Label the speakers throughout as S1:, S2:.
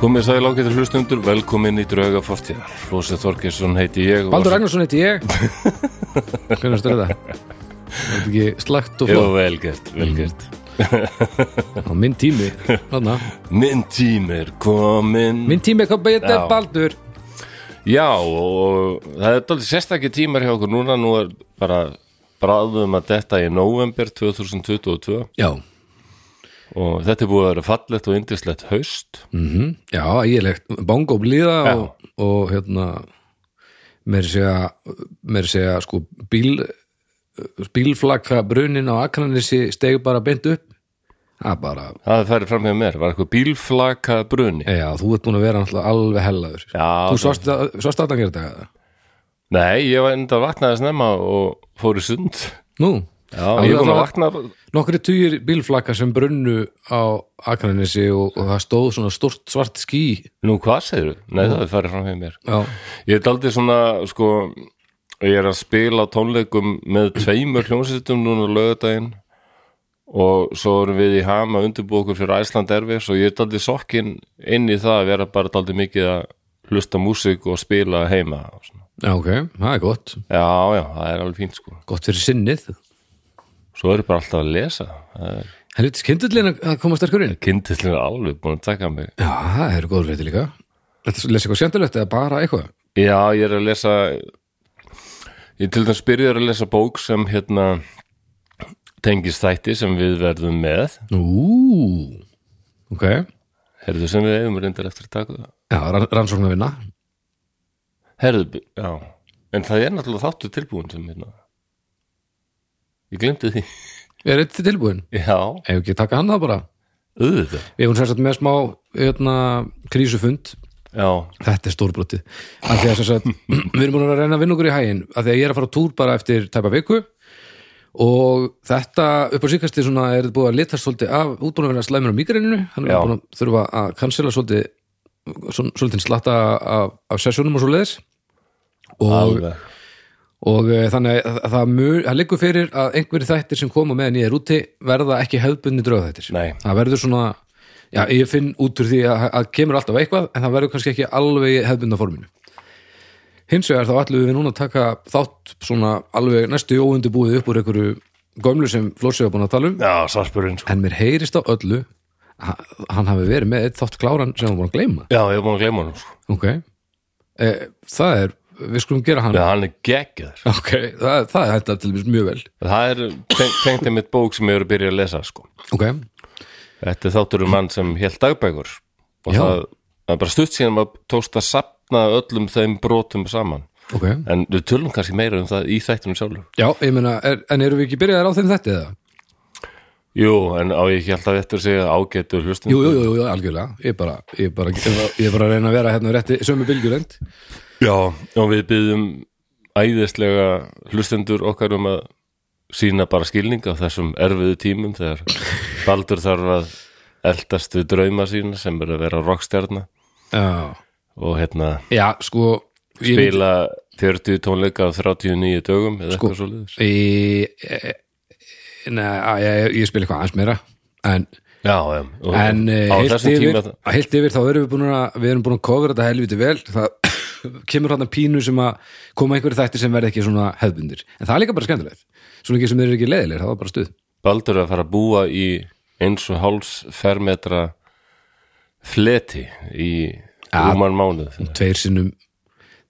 S1: Komið sæl ágættur hlustundur, velkomin í drauga fortíða. Flósið Þorkinsson heiti ég og...
S2: Baldur Ragnarsson heiti ég Hvernig stöðu það? Er þetta ekki slagt og
S1: Jó,
S2: flott
S1: vel gert, vel gert.
S2: Á minn tími Þarna.
S1: Minn tími er komin.
S2: Minn tími kom betur
S1: Já.
S2: Baldur
S1: Já, og það er dálítið sérstakki tímar hjá okkur núna. Nú er bara bráðum að detta í november 2022
S2: Já,
S1: og þetta er búið að vera fallegt og indislegt haust.
S2: mm já ég leik Bongo blíða
S1: Já.
S2: og, og hérna Mér segja, mér segja sko bíl bílflakka brunin á Akranesi stegu bara beint upp Það er bara,
S1: Það er færið fram hjá mér, var eitthvað bílflaka bruni.
S2: já, þú ert búin að vera náttúrulega alveg hellaður
S1: Já,
S2: Þú
S1: það-
S2: sást það- sást þarna að gera þetta
S1: Nei, ég var enda að vaknaði snemma og fór í sund.
S2: Nú,
S1: Já, ég kom að
S2: allavega-
S1: vakna...
S2: Nokkri tugir bílflakka sem brunnu á Akranesi og, og það stóð svona stort svart ský
S1: Nú, hvað segirðu? Nei, það er færið fram hjá mér.
S2: Já,
S1: Ég er aldrei svona, sko, ég er að spila á tónleikum með tveimur hljómsveitum núna á laugardaginn og svo erum við í hama undirbúið okkur fyrir Æsland Erfis og ég er aldrei sokkinn inn í það að vera bara aldrei mikið að hlusta músík og spila heima. og svona.
S2: já ok, það er gott
S1: Já, já, það er alveg fínt, sko.
S2: Gott fyrir sinnið
S1: Svo erum bara alltaf að lesa.
S2: Helvitis kindullin að koma sterkur inn
S1: Kindillin er alveg búin að taka mig.
S2: Já, það eru góður reyndi líka Þetta lesa eitthvað skemmtilegt eða bara eitthvað
S1: Já, ég er að lesa ég til dæmis byrjaður að lesa bók sem hérna tengist þætti sem við verðum með
S2: Ú, ok
S1: herðu sem við eigum reyndar eftir að taka það
S2: Já, rann, rannsóknar vinna
S1: herðu, b- já en það er náttúrulega þáttu tilbúin sem hérna ég glemdi því
S2: Er þetta tilbúin?
S1: já,
S2: Ef ekki taka hann það bara
S1: auðvitað
S2: Við hún sérst með smá hérna, krísufund
S1: já,
S2: Þetta er stórbrotið af því að sem sagt, við erum búin að reyna að vinna okkur í hægin af því að ég er að fara á túr bara eftir tæpa viku og þetta upp á síkastið svona er búið að litast svolítið af útbúin að vera slæmur á mígræninu hann
S1: Já.
S2: er búin að þurfa að kansela svolítið svol- svolítið slatta af, af sessjónum og svo leiðis og,
S1: alveg
S2: og eh, þannig að það, mjög, það liggur fyrir að einhverjir þættir sem koma meðan ég er úti verða ekki hefðbundni draugaþættir
S1: Nei.
S2: það verður svona Já, ég finn út úr því að, að kemur alltaf eitthvað en það verður kannski ekki alveg í hefðbundna forminu. Hins vegar þá ætlum við núna að taka þátt svona alveg næstu óundibúið upp úr einhverju gömlu sem Flósi var búin að tala um
S1: já, sarpurinn sko
S2: en mér heyrist á öllu að hann hafi verið með eitt þátt kláran sem hann var búin að gleyma.
S1: já, ég er búin að gleyma hann sko
S2: Ok, e, það er, við skulum gera hann.
S1: já, hann er geggjaður
S2: Ok, það, það er þetta til dæmis mjög vel.
S1: það er teng- tengt einmitt bók sem ég er að byrja að lesa sko
S2: Ok,
S1: Þetta er þáttur um mann sem held dagbækur og
S2: Já.
S1: það, það er bara stutt síðan maður tókst að sapna öllum þeim brotum saman
S2: ok.
S1: en við tölum kannski meira um það í þættunum sjálfur
S2: Já, ég meina, er, en eru við ekki byrjaðar á þeim þetta eða?
S1: Jú, en á ég ekki alltaf eftir að segja ágættur hlustum
S2: Jú, jú, jú, jú, jú algjörlega. Ég er bara, ég er bara, ég er bara að reyna að vera hérna rétti sömu bylgjurend.
S1: Já, og við byggðum æðislega hlustendur okkar um að sína bara skilning á þessum erfiðu tímum þegar Baldur þarf að eldast við drauma sína sem er að vera rockstjarna
S2: Já,
S1: og hérna
S2: já, sko, ég myndi-
S1: spila 40 tónleika á 39 dögum
S2: Sko.
S1: eða eitthvað svo liður
S2: Í, e, neða, ég, ég spil eitthvað aðeins meira en,
S1: Já, já. Og, hérna,
S2: en e,
S1: á
S2: heilt,
S1: þessum
S2: yfir,
S1: tíma
S2: heilt yfir þá erum við búin að við erum búin að kofra þetta helviti vel það kemur hann að pínu sem að koma einhverju þættir sem verði ekki svona hefðbundir en það er líka bara skemmtilegt svona ekki sem þeir eru ekki leiðilegir, það var bara stuð
S1: Baldur er að fara að búa í eins og hálfs fermetra fleti í
S2: Ja.
S1: rúman mánuð
S2: tveir sinnum,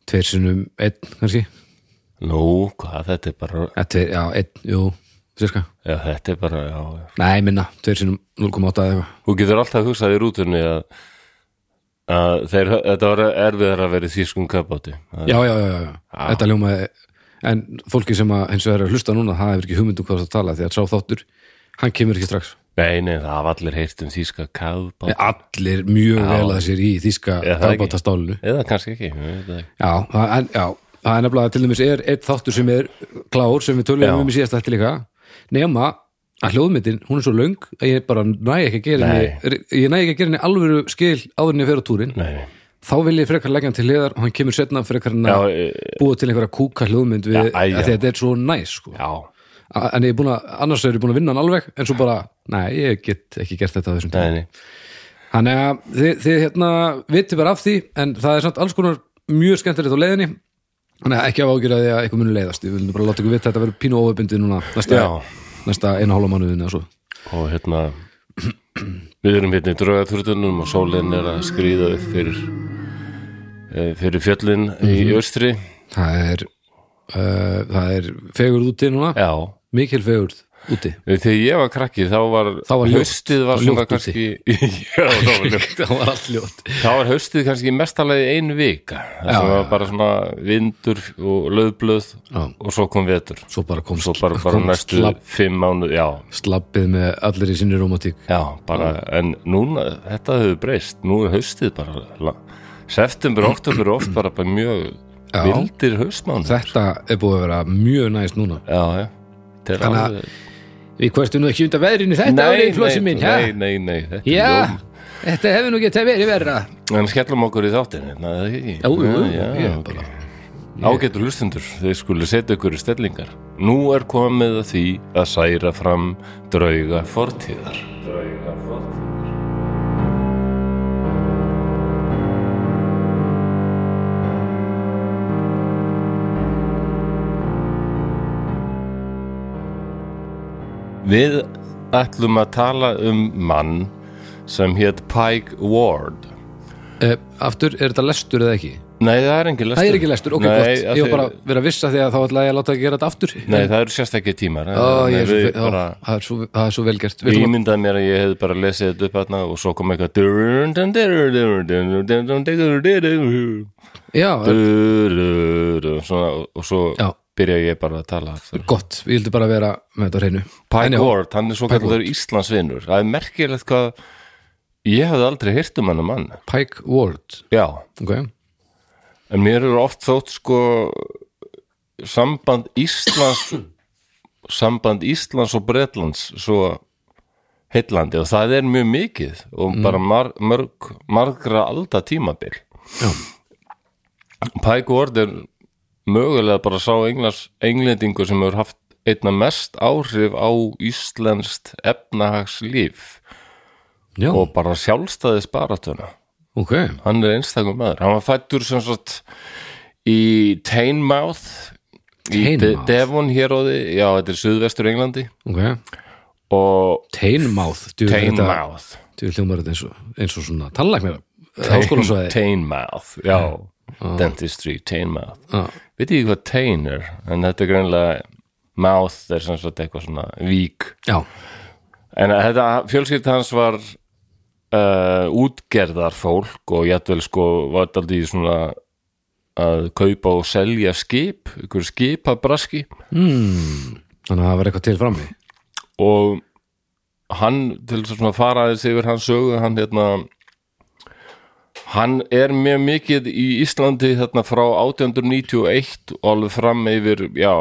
S2: tveir sinnum einn kannski,
S1: Nú, hvað, þetta er bara
S2: ja, tveir, já, einn, jú sérska,
S1: já, þetta er bara, já, já
S2: nei, minna tveir sinnum 0,8 eða eitthvað
S1: Þú getur alltaf hugsað í rútunni að, að þeir, þetta var erfiðar að vera í þýskum kaupátti
S2: já, já, já, já, já. þetta ljómaði en fólki sem að eins og er að hlusta núna það hefur ekki hugmyndum hvað það er að tala því að sá þáttur hann kemur ekki strax
S1: Nei, nei, það hafa allir heyrt um þýska kaupátti
S2: allir mjög vel að sér í þýska
S1: Já, það er ekki.
S2: dagbáta stálinu
S1: Eða kannski ekki, ég veit það ekki
S2: já, það- en, já, það er nefnilega til dæmis er eitt þáttur sem er klár sem við
S1: Já.
S2: töluðum um í síðast þetta líka nema að hljóðmyndin, hún er svo löng að ég bara næ ekki að gera henni ég næ ekki að gera henni alvöru skil áður en ég fer á túrin
S1: Nei, nei
S2: þá vil ég frekar leggja hann til hliðar og hann kemur setna frekar en að
S1: Já, e-
S2: búa til einhverja kúka hljóðmynd
S1: Já,
S2: við,
S1: æ, já.
S2: að þetta er svo næs sko.
S1: Já,
S2: A- en ég er búin að, annars er ég búin að vinna hann alveg en svo bara, nei, ég get ekki gert þetta á þessum tíma
S1: nei, nei
S2: Þannig að þið, þið hérna vitið bara af því en það er samt alls konar mjög skemmtilegt á leiðinni Þannig að ekki hafa ágjur að því að eitthvað muni leiðast Við viljum bara láta ykkur vita að þetta verður pínu óöfbundið núna næsta,
S1: Já.
S2: næsta einu hálfa mánuðin eða svo
S1: og hérna við erum hérna í draugaturðunum og sólinn er að skrýða upp fyrir eh, fyrir fjöllin
S2: Mhm.
S1: í austri
S2: Það er, uh, það er fegurð úti núna
S1: já,
S2: Mikil fegurð úti
S1: þegar ég var krakki þá var,
S2: Þá var ljótt.
S1: haustið var
S2: Þá var
S1: svona
S2: ljótt úti.
S1: kannski já, þá var ljótt
S2: Það var allt ljótt
S1: þá var haustið kannski mestalegi ein vika það
S2: Já,
S1: sem var
S2: já.
S1: bara svona vindur og löðblöð
S2: Já.
S1: og svo kom vetur
S2: Svo bara kom,
S1: svo bara, bara
S2: kom
S1: næstu
S2: slapp-
S1: fimm mánu já,
S2: slappið með allir í sinni romantík
S1: já, bara en núna, þetta hefur breyst nú er haustið bara la, september, oktober er oft bara, bara mjög
S2: Já.
S1: vildir haustmánu já,
S2: Þetta er búið að vera mjög næst núna
S1: já, þetta er
S2: Þannig að-
S1: alveg
S2: Við hverstum nú ekki undan veðrinu þetta árið, flósi minn ha?
S1: nei, nei, nei, þetta er
S2: Já,
S1: ljóm.
S2: þetta hefur nú getað verið verra
S1: en skellum okkur í þáttin já,
S2: Jú, jú, jú,
S1: já,
S2: ég
S1: ok.
S2: bara-
S1: Ágætu hlustundur, þeir skulle setja ykkur í stellingar. Nú er komið að því að særa fram drauga fortíðar. Drauga fortíðar. Við ætlum að tala um mann sem hétt Pike Ward.
S2: Eh, Aftur, er þetta lestur eða ekki?
S1: Nei, það er ekki lestur.
S2: Það er ekki lestur, ok,
S1: Nei,
S2: gott
S1: af
S2: Ég var
S1: því-
S2: bara að vera að vissa því að þá ætlaði ég að láta að gera þetta aftur
S1: Nei, það eru sérstakki tímar
S2: Ó, ég
S1: Nei,
S2: er svo
S1: við
S2: fe- ó,
S1: bara,
S2: Það er svo- það er svo velgert
S1: Ég ímyndaði mér að ég hefði bara lesið þetta upp hérna og svo kom eitthvað
S2: Já,
S1: svona, og svo
S2: Já.
S1: byrja ég bara að tala aftur.
S2: gott, ég vildi bara vera með þetta á hreinu En
S1: Pike
S2: já,
S1: Ward, hann er svo kallar Íslandsvinur það er merkilegt hvað ég hefði aldrei heyrt um hann mann
S2: Pike Ward
S1: Já,
S2: Ok,
S1: en mér eru oft þótt sko samband Íslands samband Íslands og Bretlands svo heitlandi og það er mjög mikið og bara mar, mörg, margra alda tímabil
S2: Já.
S1: Pike Ward er mögulega bara sá englas, englendingu sem hefur haft einna mest áhrif á íslenskt efnahagslíf
S2: já,
S1: og bara sjálfstæðis baratuna
S2: ok
S1: hann er einstakum maður hann var fættur sem sagt í Teignmouth í De
S2: Teignmouth?
S1: Devon hér og því já, þetta er suðvestur Englandi
S2: Ok,
S1: og
S2: Teinmouth
S1: Teignmouth
S2: Þú hljómar þetta eins og, eins og svona tannlæknir Háskólasvæði
S1: Teignmouth, já dentistry, Teignmouth
S2: Já.
S1: veit ég hvað Teign er en þetta er greinlega mouth er sem sagt eitthvað svona vík
S2: Já,
S1: en þetta fjölskyld hans var uh, útgerðar fólk og jættvel sko var þetta aldrei svona að kaupa og selja skip ykkur skipabraski
S2: þannig að það var eitthvað til frammi
S1: og hann til þess að svona fara aðeins yfir hans sögu hann hérna hann er mjög mikið í Íslandi þarna frá 1891 og alveg fram yfir já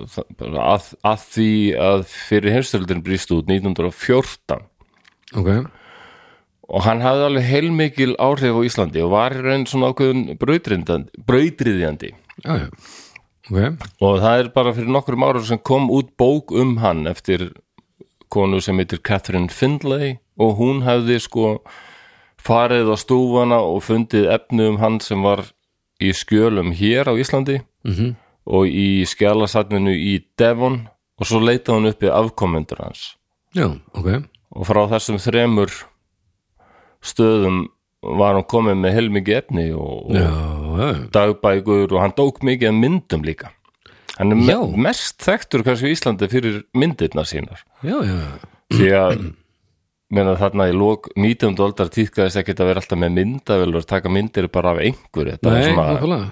S1: það- bara að, að því að fyrir heimstöldin brýst út 1914
S2: Ok,
S1: og hann hafði alveg heilmikil áhrif á Íslandi og var í raun svona ákveðun brautrindandi- brautriðjandi
S2: já, já Ok,
S1: og það er bara fyrir nokkrum árum sem kom út bók um hann eftir konu sem heitir Catherine Findlay og hún hafði sko farið á stúfana og fundið efni um hann sem var í skjölum hér á Íslandi -hmm. og í skjálasatninu í Devon og svo leitaði hún uppi afkomendur hans
S2: já, ok
S1: og frá þessum þremur stöðum var hann komið með heilmikið efni og,
S2: Já,
S1: og
S2: já,
S1: dagbækur og hann dók mikið af myndum líka hann er me
S2: Já.
S1: mest þekktur kannski í Íslandi fyrir myndirna sínar
S2: já, já, já.
S1: því að meina þarna í lok 19. aldar týðkaðist ekkert að vera alltaf með myndavelur taka myndir bara af einhverju þetta var
S2: Nei,
S1: svona,
S2: nákvæmlega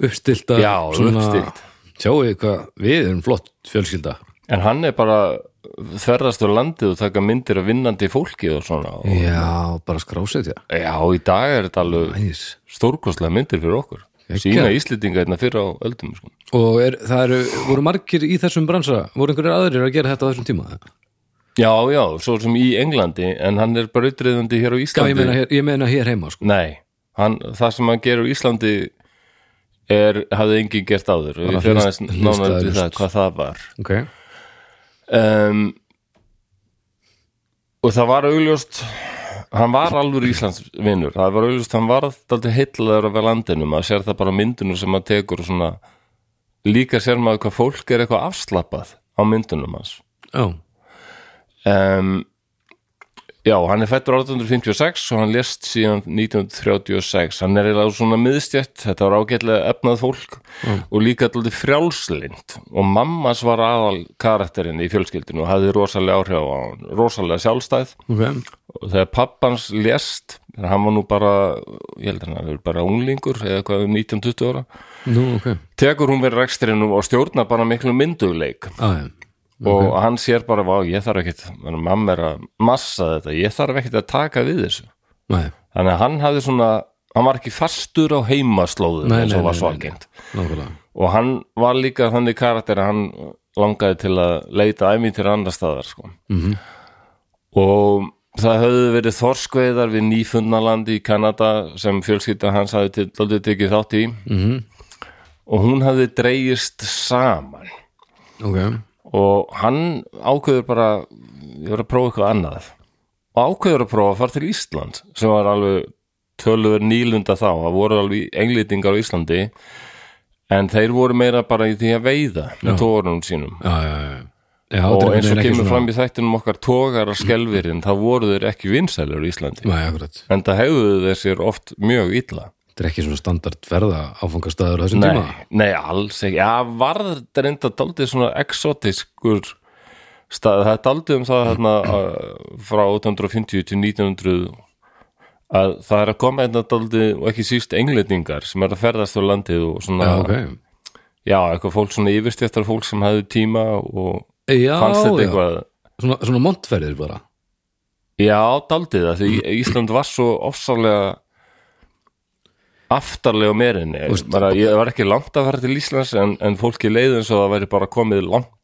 S2: Uppstilt að
S1: Já, uppstillt.
S2: Sjáuði hvað, við erum flott fjölskylda
S1: en hann er bara þverðast á landið og taka myndir af vinnandi fólki og svona og,
S2: Já, bara skrásetja
S1: já, í dag er þetta alveg
S2: Æs.
S1: stórkostlega myndir fyrir okkur sína íslendinga einna fyrir á öldum sko.
S2: Og er, það eru, voru margir í þessum bransa voru einhverjir aðrir að gera þetta á þessum tíma
S1: já, já, svo sem í Englandi en hann er brautriðandi hér á
S2: Já, ég
S1: Íslandi
S2: meina hér, ég meina hér heima sko.
S1: Nei, hann, það sem hann gerur í Íslandi er, hafði enginn gert áður og ég fyrir aðeins
S2: hlýst-
S1: nánar til það
S2: hliðstæðulaust.
S1: hvað það var
S2: Ok,
S1: um, og það var augljóst hann var alveg Íslandsvinnur það var auðvist, hann var alltaf heitlaður af landinu, maður sér það bara á myndunum sem maður tekur og svona líka sér maður hvað fólk er eitthvað afslappað á myndunum hans
S2: já,
S1: um, já, hann er fættur 1856 og hann lést síðan 1936 hann er eiginlega svona miðstjætt þetta var ágætlega efnað fólk og líka alltaf frjálslind og mammas var aðal karakterinn í fjölskyldinu og hafði rosalega áhrif á hann rosalega sjálfstæð
S2: ok
S1: og þegar pappans lést þegar hann var nú bara, ég held að hann hafi verið bara unglingur eða eitthvað um 19-20 ára
S2: nú, ok,
S1: tekur hún verið rekstrinum og stjórnar bara miklu mynduleik
S2: aðeim
S1: og hann sér bara, vá, ég þarf ekkit mamma er að massa þetta, ég þarf ekkit að taka við þessu
S2: Nei,
S1: þannig að hann hafði svona, hann var ekki fastur á heimaslóðum
S2: Nei,
S1: eins
S2: nei,
S1: og var
S2: nei,
S1: svagend
S2: nákvæmlega
S1: og hann var líka þannig karakter að hann langaði til að leita æmyntir andra staðar sko. -hmm.
S2: Mhm.
S1: og það höfðu verið þorskveiðar við nýfundnalandi í Kanada sem fjölskylda hans hafði til, dálítið tekið þátt í -hmm.
S2: Mhm.
S1: og hún hafði dreigist saman
S2: Ok,
S1: og hann ákveður bara ég verið að prófa eitthvað annað og ákveður að prófa að fara til Ísland sem var alveg tölver nýlunda þá það voru alveg englýtingar á Íslandi en þeir voru meira bara í því að veiða með tórunum sínum
S2: já, já, já. já
S1: og eins og kemur fram í þættinum okkar tógar að skelvirinn, þá voru þeir ekki vinsælur í Íslandi,
S2: Nei, akkurat,
S1: en það hefðu þeir sér oft mjög illa
S2: þetta er ekki svona standard verða áfangastæður á þessum
S1: Nei,
S2: tíma
S1: nei, alls ekki. Já, varð þetta reynda daldið svona exotiskur stað. Það er daldið um það þarna að- frá 850 til 1900 að það er að koma einna daldið og ekki síst englendingar sem er að ferðast á landið og svona,
S2: Já, ok
S1: já, eitthvað fólk svona yfirstjættar fólk sem hafði tíma og
S2: Já,
S1: fannst þetta
S2: já,
S1: eitthvað
S2: svona, svona montferðir bara
S1: Já, daldið það, því
S2: Mm.
S1: Ísland var svo ofsalega aftarlega á merinni bara, ég var ekki langt að fara til Íslands en, en fólki leið eins og það væri bara komið langt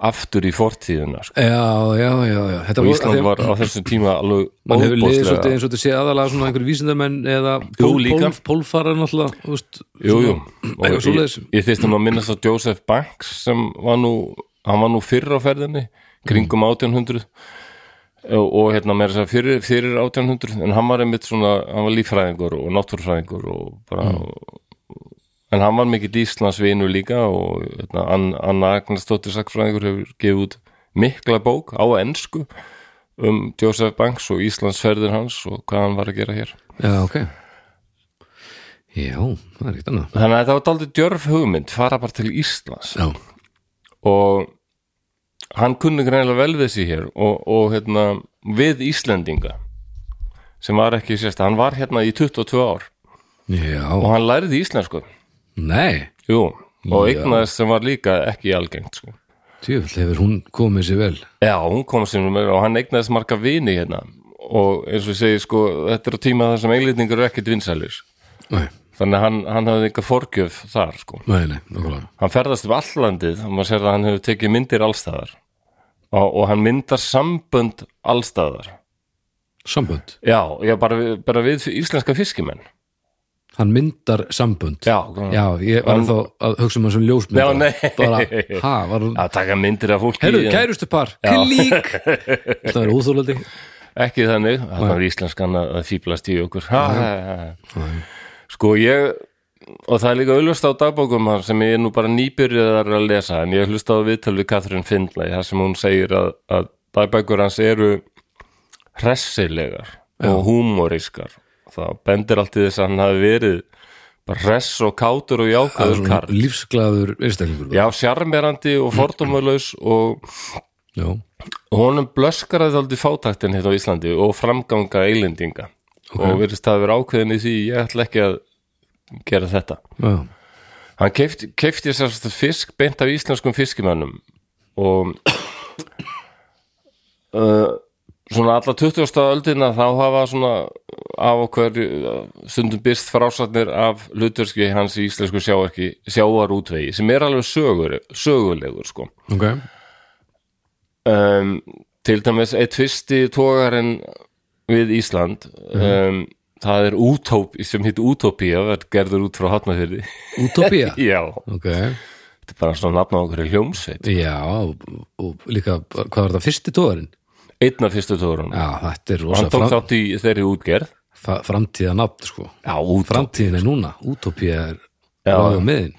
S1: aftur í fortíðina sko.
S2: Já, já, já, já Þetta
S1: og
S2: voru- af því
S1: Ísland
S2: að
S1: var á þessum tíma alveg
S2: Man hefur liðið svolítið
S1: óbóðslega
S2: eins og þetta sé aðalega svona einhver vísindamenn eða
S1: Jú,
S2: pól-
S1: líka.
S2: pólf- pólfarar náttúrulega þú veist,
S1: Jú, jú,
S2: svona-
S1: og
S2: eitthvað
S1: ég,
S2: svoleiðis.
S1: ég þyrst nú að minnast á Joseph Banks sem var nú, hann var nú fyrr á ferðinni kringum 1800 og, og hérna meira þess að segja fyrir, fyrir 1800 en hann var einmitt svona, hann var líffræðingur og náttúrfræðingur og bara en hann var mikill Íslandsvinu líka og hérna, Ann- Anna Agnarsdóttir Saksfræðingur hefur gefið út mikla bók á ensku um Joseph Banks og Íslandsferðir hans og hvað hann var að gera hér
S2: Já, ok Já, það er ekkert annað
S1: þannig að þetta var daldið djörf hugmynd fara bara til Íslands
S2: Já,
S1: og hann kunni greinlega vel við sig hér og, og hérna, við Íslendinga sem var ekki sérst hann var hérna í 22 ár og
S2: já,
S1: hann læriði íslensku
S2: nei
S1: Jú, og
S2: Já.
S1: eignaðist sem var líka ekki algengt sko.
S2: Tjöfull hefur hún komið sér vel
S1: já, hún kom sem mér og hann eignaðist marga vini hérna og eins og ég segi sko, þetta er á tíma þar sem eiglendingur er ekkit vinsælir
S2: Nei,
S1: þannig að hann, hann hafði eitthvað forgjöf þar sko.
S2: nei, nei, nákvæmlega
S1: hann ferðast um allandið og maður sér að hann hefur tekið myndir allstæðar og, og hann myndar sambönd allstæðar
S2: Sambönd,
S1: já, já bara, við- bara við íslenska fiskimenn
S2: hann myndar sambönd
S1: já,
S2: Já, ég var
S1: Hann-
S2: þá að hugsa maður sem ljósmyndar
S1: Já, nei.
S2: Bara, ha, var hún
S1: að taka myndir af fólki
S2: Herru,
S1: en
S2: kærustu par, klík Það er úþólandi
S1: ekki þannig, það var íslenskan að að fíblast í okkur ha, ha, ha. sko ég og það er líka auðlust á dagbókum hans sem ég er nú bara nýbyrjaðar að lesa en ég hlusta á viðtöl við Katrin Findlay þar sem hún segir að, að dagbækur hans eru hressilegar og húmorískar það bendir allt í þess að hann hafi verið bara hress og kátur og
S2: Það er
S1: jákaður
S2: svona
S1: karl
S2: lífsglæður einstaklingur
S1: já, sjarmerandi og fordómalaus og
S2: Já,
S1: honum blöskraði aldrei fátæktin hérna á Íslandi og framganga eilendinga og virðist það að vera ákveðin í því ég ætla ekki að gera þetta
S2: já,
S1: hann kefti, kefti sér fisk beint af íslenskum fiskimönnum og uh, svona alla 20. öldina þá hafa svona af okkur uh, stundum byrst frásatnir af hlutverski hans í íslensku sjáarki, sjáarútvegi sem er alveg sögur, sögulegur sko
S2: ok
S1: um, til dæmis eitt fyrsti tógarinn við Ísland um, það er útóp sem hitt útópía verð gerður út frá hátnafyrði
S2: Utopía
S1: já,
S2: Ok,
S1: þetta er bara svona nafn á okkur í hljómsveit
S2: já og, og líka, hvað var það, fyrsti tóðarinn?
S1: einn af fyrstu tóðurinn
S2: já, þetta er
S1: hann
S2: rosa
S1: tók
S2: fram,
S1: þátt í þeirri útgerð
S2: fa- framtíðanafn sko.
S1: já, út,
S2: framtíðin er núna, útópía er
S1: Já.
S2: ráðum miðin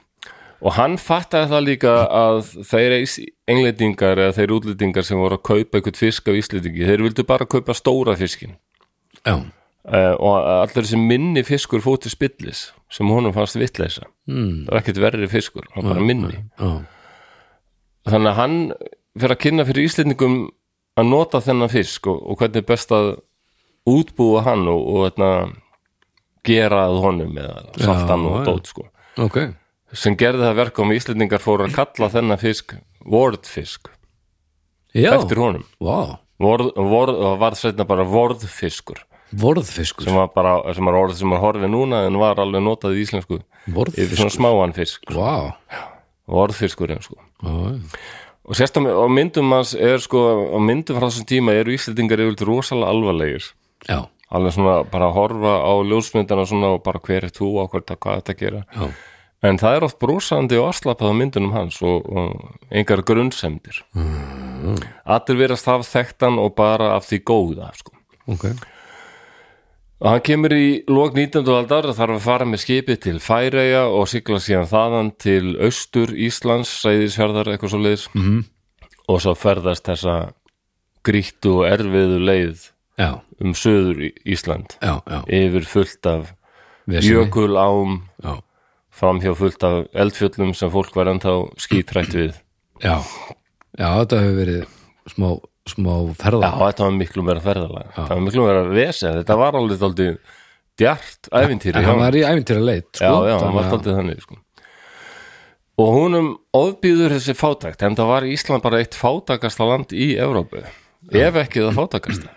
S1: og hann fattaði það líka að þeir englendingar eða þeir útlendingar sem voru að kaupa eitthvað fisk af Íslendingi, þeir vildu bara kaupa stóra fiskin
S2: já,
S1: uh, og allir þessi minni fiskur fór til spillis sem honum fannst vitleisa mm. það var ekkert verri fiskur, hann var bara minni
S2: Hmm. já,
S1: þannig að hann fyrir að kynna fyrir Íslendingum að nota þennan fisk og, og hvernig er best að útbúa hann og, og etna, gera að honum eða
S2: Já,
S1: saltan og
S2: já.
S1: dót sko.
S2: ok
S1: sem gerði það verkum að Íslendingar fóru að kalla þennan fisk vorðfisk
S2: já,
S1: eftir honum
S2: vá,
S1: Vorð, vorð, og varð setna bara vorðfiskur
S2: vorðfiskur
S1: sem var bara, sem var orðið sem var horfið núna en var alveg notað í íslensku yfir sko.
S2: vorðfiskur,
S1: svona smáan fisk,
S2: vá
S1: vorðfiskurinn sko
S2: já,
S1: og sérstaklega á myndum hans er sko á myndum frá þessum tíma eru Íslendingar yfirleitt rosalega alvarlegir
S2: já,
S1: alveg svona bara að horfa á ljósmyndana svona og bara hver er þú og hvað, hvað þetta gera
S2: já,
S1: en það er oft brosandi og afslapað á myndunum hans og, og engar grunnsemdir mm. allir verðast hafa þekktan og bara af því góða sko
S2: ok
S1: Og hann kemur í lok 19. aldar og þarf að fara með skipið til Færeja og sigla síðan þaðan til austur Íslands, sæðisfjörðar, eitthvað svo leiðis -hmm. og svo ferðast þessa grýttu og erfiðu leið
S2: já,
S1: um söður Í- Ísland
S2: já, já,
S1: yfir fullt af
S2: Veseni.
S1: jökul ám
S2: já,
S1: framhjá fullt af eldfjöllum sem fólk var ennþá skítrætt við
S2: já já, þetta hefur verið smá, smá
S1: Já,
S2: ferða
S1: þetta var miklu meira ferðalag þetta var miklu meira vesið, þetta var alveg dálítið djart æfintýri
S2: en
S1: hjá
S2: hann var í æfintýra leit sko,
S1: já, já, hann var
S2: þannig að-
S1: alltaf þannig sko. og húnum ofbýður þessi fátækt en það var Ísland bara eitt fátækasta land í Evrópu ef ekki það fátækasta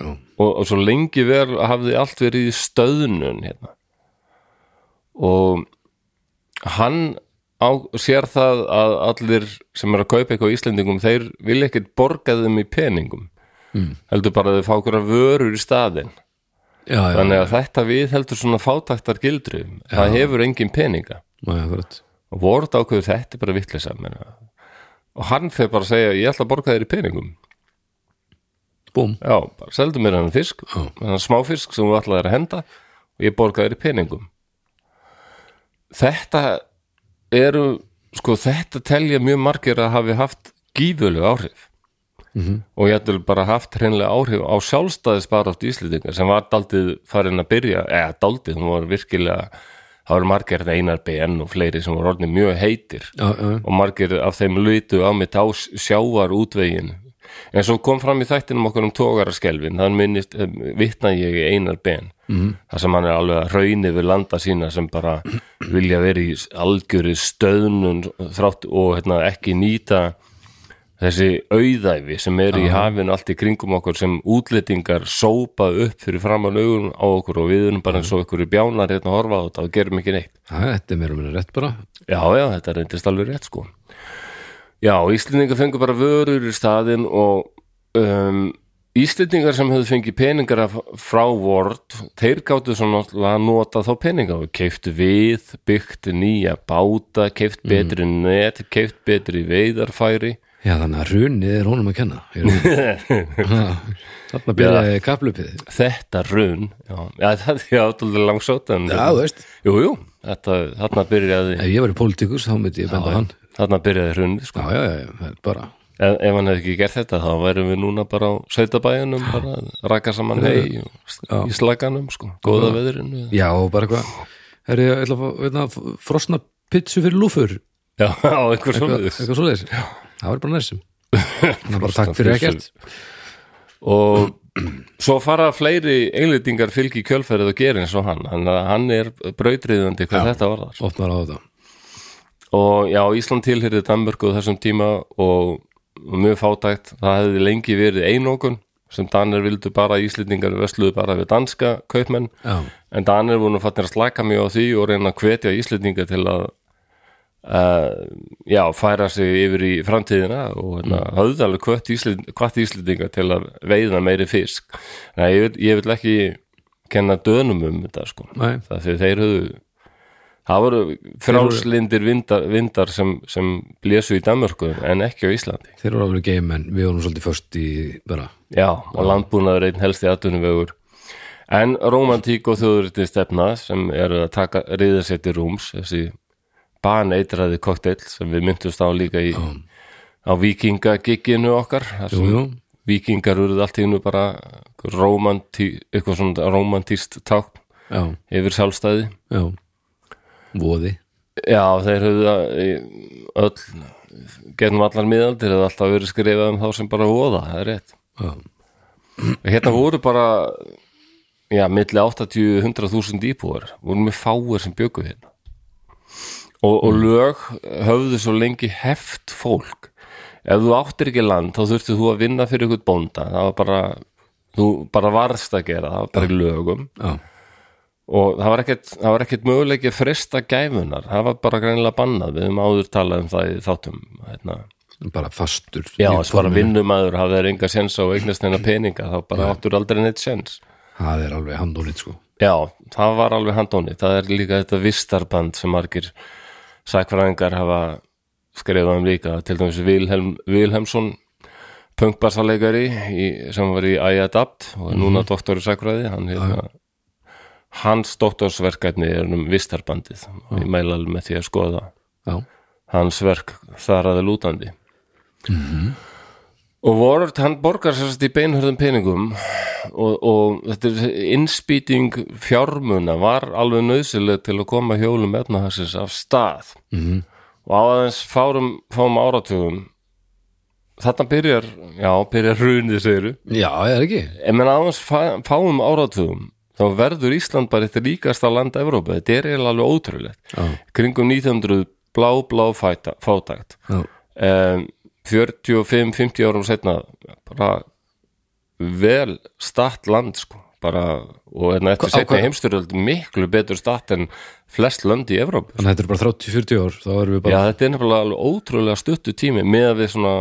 S2: Já.
S1: og, og svo lengi ver hafði allt verið í stöðnun hérna. og hann á, sér það að allir sem er að kaupa eitthvað á Íslendingum þeir vilja ekkert borga þeim í peningum mm. heldur bara að þau fá okkur að vörur í staðinn
S2: já, já,
S1: Þannig að þetta við heldur svona fátæktar gildru það hefur engin peninga
S2: já, akkurat.
S1: og Ward ákveður þetta er bara vitleysa meina. og hann fer bara að segja ég ætla að borga þér í peningum
S2: búm,
S1: já, bara seldu mér hann fisk
S2: Já.
S1: hann smáfisk sem þú ætla þér að henda og ég borga þér í peningum þetta eru sko þetta telja mjög margir að hafi haft gífulegu áhrif -hmm. og ég ætlum bara haft hreinlega áhrif á sjálfstæðisbarátt Íslendinga sem var daldið farin að byrja eða daldið, hún var virkilega það voru margir einar BN og fleiri sem voru orðin mjög heitir
S2: já, já,
S1: og margir af þeim lutu á mitt á sjávar útvegin en svo kom fram í þættinum okkur um tógaraskelvin þann minnist, eh, vitna ég í einar ben mm. þar sem hann er alveg að rauni við landa sína sem bara vilja vera í algjöri stöðnun þrátt og hérna, ekki nýta þessi auðæfi sem er í hafinu allt í kringum okkur sem útlendingar sópa upp fyrir framan augun á okkur og við erum bara eins og ykkur bjánar hérna að horfa á þetta og gerum ekki neitt
S2: já, þetta er meira og meira rétt bara
S1: Já, já, þetta reyndist alveg rétt sko Já, Íslendingar fengur bara vörur í staðinn og um, Íslendingar sem höfðu fengið peningar af, frá Word þeir gáttu svo náttúrulega að nota þá peninga og keiftu við, byggt nýja báta, keift betri net keift betri veiðarfæri
S2: já, þannig að runið er honum að kenna í raun. Já, þarna byrjaði kaplupið já,
S1: Þetta run, já, já það er áttúrulega langsótt en
S2: þú veist,
S1: Jú, jú, þetta, þarna byrjaði
S2: ef ég var í pólitíkus þá myndi ég benda á hann
S1: þarna byrjaði hrunni sko
S2: já, já, já, já, það er bara
S1: ef, ef hann hefði ekki gert þetta þá værum við núna bara á sveitabæjanum bara að raka saman hei og s- í slaganum sko, góða veðrinu
S2: já, og bara eitthvað, herri, ég ætla að fá hérna, f- frosna pitsu fyrir lúfur
S1: já, á einhver svolítið
S2: eitthvað svoleiðis, það var bara næsum það var bara takk fyrir
S1: pitsu.
S2: ekkert
S1: og svo fara fleiri einlendingar fylgi í kjölferðið og gera eins og hann hann, hann er brautriðandi hvað þetta var þar
S2: opnar á þetta,
S1: og já, Ísland tilhyrði Danmörku á þessum tíma og, og mjög fátækt það hefði lengi verið einokun sem Danir vildu bara, Íslendingar vesluðu bara við danska kaupmenn
S2: já,
S1: en Danir voru nú fannir að slæka mjög á því og reyna að hvetja Íslendinga til að uh, já, færa sig yfir í framtíðina og hérna, höfðu alveg hvött Íslend, hvött Íslendinga til að veiða meiri fisk Nei, ég, vil- ég vil ekki kenna dönum um þetta sko
S2: Nei.
S1: það fyrir þeir höfðu það voru frjálslindir vindar, vindar sem, sem blésu í Danmörku en ekki á Íslandi
S2: þeir eru að vera game en við vorum svolítið först í bara,
S1: já, og landbúnaður einn helsti atvinnuvegur en romantík og þjóðurinn stefna sem eru að taka riðasetti rúms þessi baneitraði kokteill sem við myndust á líka í, á vikingagigginu okkar þar
S2: jú,
S1: sem
S2: jú,
S1: vikingar eruð allt í hennu bara einhver rómantí, eitthvað svona romantíst tákn
S2: já,
S1: yfir sjálfstæði
S2: já voði,
S1: já þeir höfðu að- í- öll getum allar miðaldir eða alltaf verið skrifað um þá sem bara voða, það er rétt
S2: já,
S1: hérna voru bara já, milli 80-100.000 íbúar voru með fáir sem bjöku hérna og, og lög höfðu svo lengi heft fólk ef þú áttir ekki land þá þurftu þú að vinna fyrir ykkur bónda það var bara, þú bara varðst að gera það var bara í lögum
S2: já,
S1: og það var ekkert, það var ekkert möguleiki að frista gæfunar, það var bara greinilega bannað, við höfum áður talað um það í þáttum hérna.
S2: bara fastur
S1: já,
S2: í
S1: þess bara
S2: forminu.
S1: vinnumæður hafði þeir enga sens á eignast neina peninga þá bara áttur aldrei neitt sens
S2: það er alveg handónið sko
S1: já, það var alveg handóni það er líka þetta vistarband sem margir sækfræðingar hafa skrifað um líka, til dæmis Vilhelm, Vilhelmsson punkbassarleikari í, sem var í iAdapt og er núna doktor í sækfræði hann hérna hans doktorsverkefni er um vistarbandið og ég mæla alveg með því að skoða
S2: já,
S1: hans verk þar aðeins lútandi og Warwick hann borgar sérst í beinhörðum peningum og, og þetta er innspýting fjármuna var alveg nöðsileg til að koma hjólum efnahagsins af stað
S2: Mhm.
S1: og á aðeins fárum, fáum áratugum þarna byrjar já, byrjar hrunið segiru
S2: já, er ekki
S1: en menn aðeins fá, fáum áratugum þá verður Ísland bara eitt ríkasta land Evrópa, þetta er eiginlega alveg ótrúlegt
S2: já,
S1: kringum 1900 blá, blá fæta, fátækt
S2: já,
S1: um, 45-50 árum setna bara vel statt land sko bara, og hérna eftir
S2: Hva- á
S1: setna
S2: hvað-
S1: heimsturöld miklu betur statt en flest lönd í Evrópu
S2: þannig að þetta er bara 30-40 ár þá erum við
S1: já
S2: bara,
S1: þetta er nefnilega alveg ótrúlega stuttu tími með við svona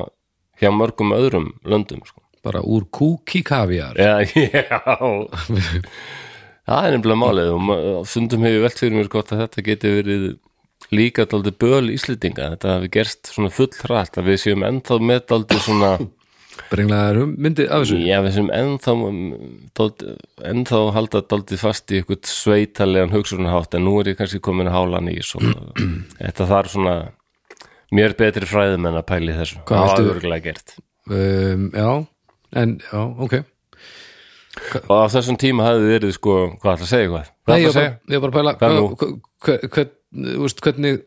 S1: hjá mörgum öðrum löndum sko
S2: bara úr kúki kaviar
S1: já, já. það er nefnilega málið og ma- og stundum hefur velt fyrir mér gott að þetta geti verið líka daldi böl íslendinga þetta hafi gerst svona full hrætt að við séum ennþá með daldi svona
S2: brenglega erum um myndið af þessu
S1: Já, við sem ennþá dálít, ennþá halda daldið fast í eitthvað sveitalegan hugsunarhátt en nú er ég kannski komin að hála hann í svo, þetta þarf svona mér betri fræðum en að pæli þessu
S2: Hvað
S1: það
S2: viltu-
S1: var örgulega gert
S2: um, já, en já, ok
S1: og á þessum tíma hafði verið sko, hvað ætla að segja hvað? Hvað
S2: Nei,
S1: ætla
S2: ég
S1: að segja?
S2: var bara- ég var bara að
S1: Hvað
S2: pæla
S1: nú?
S2: hva- hva- hvern- þú veist, hvernig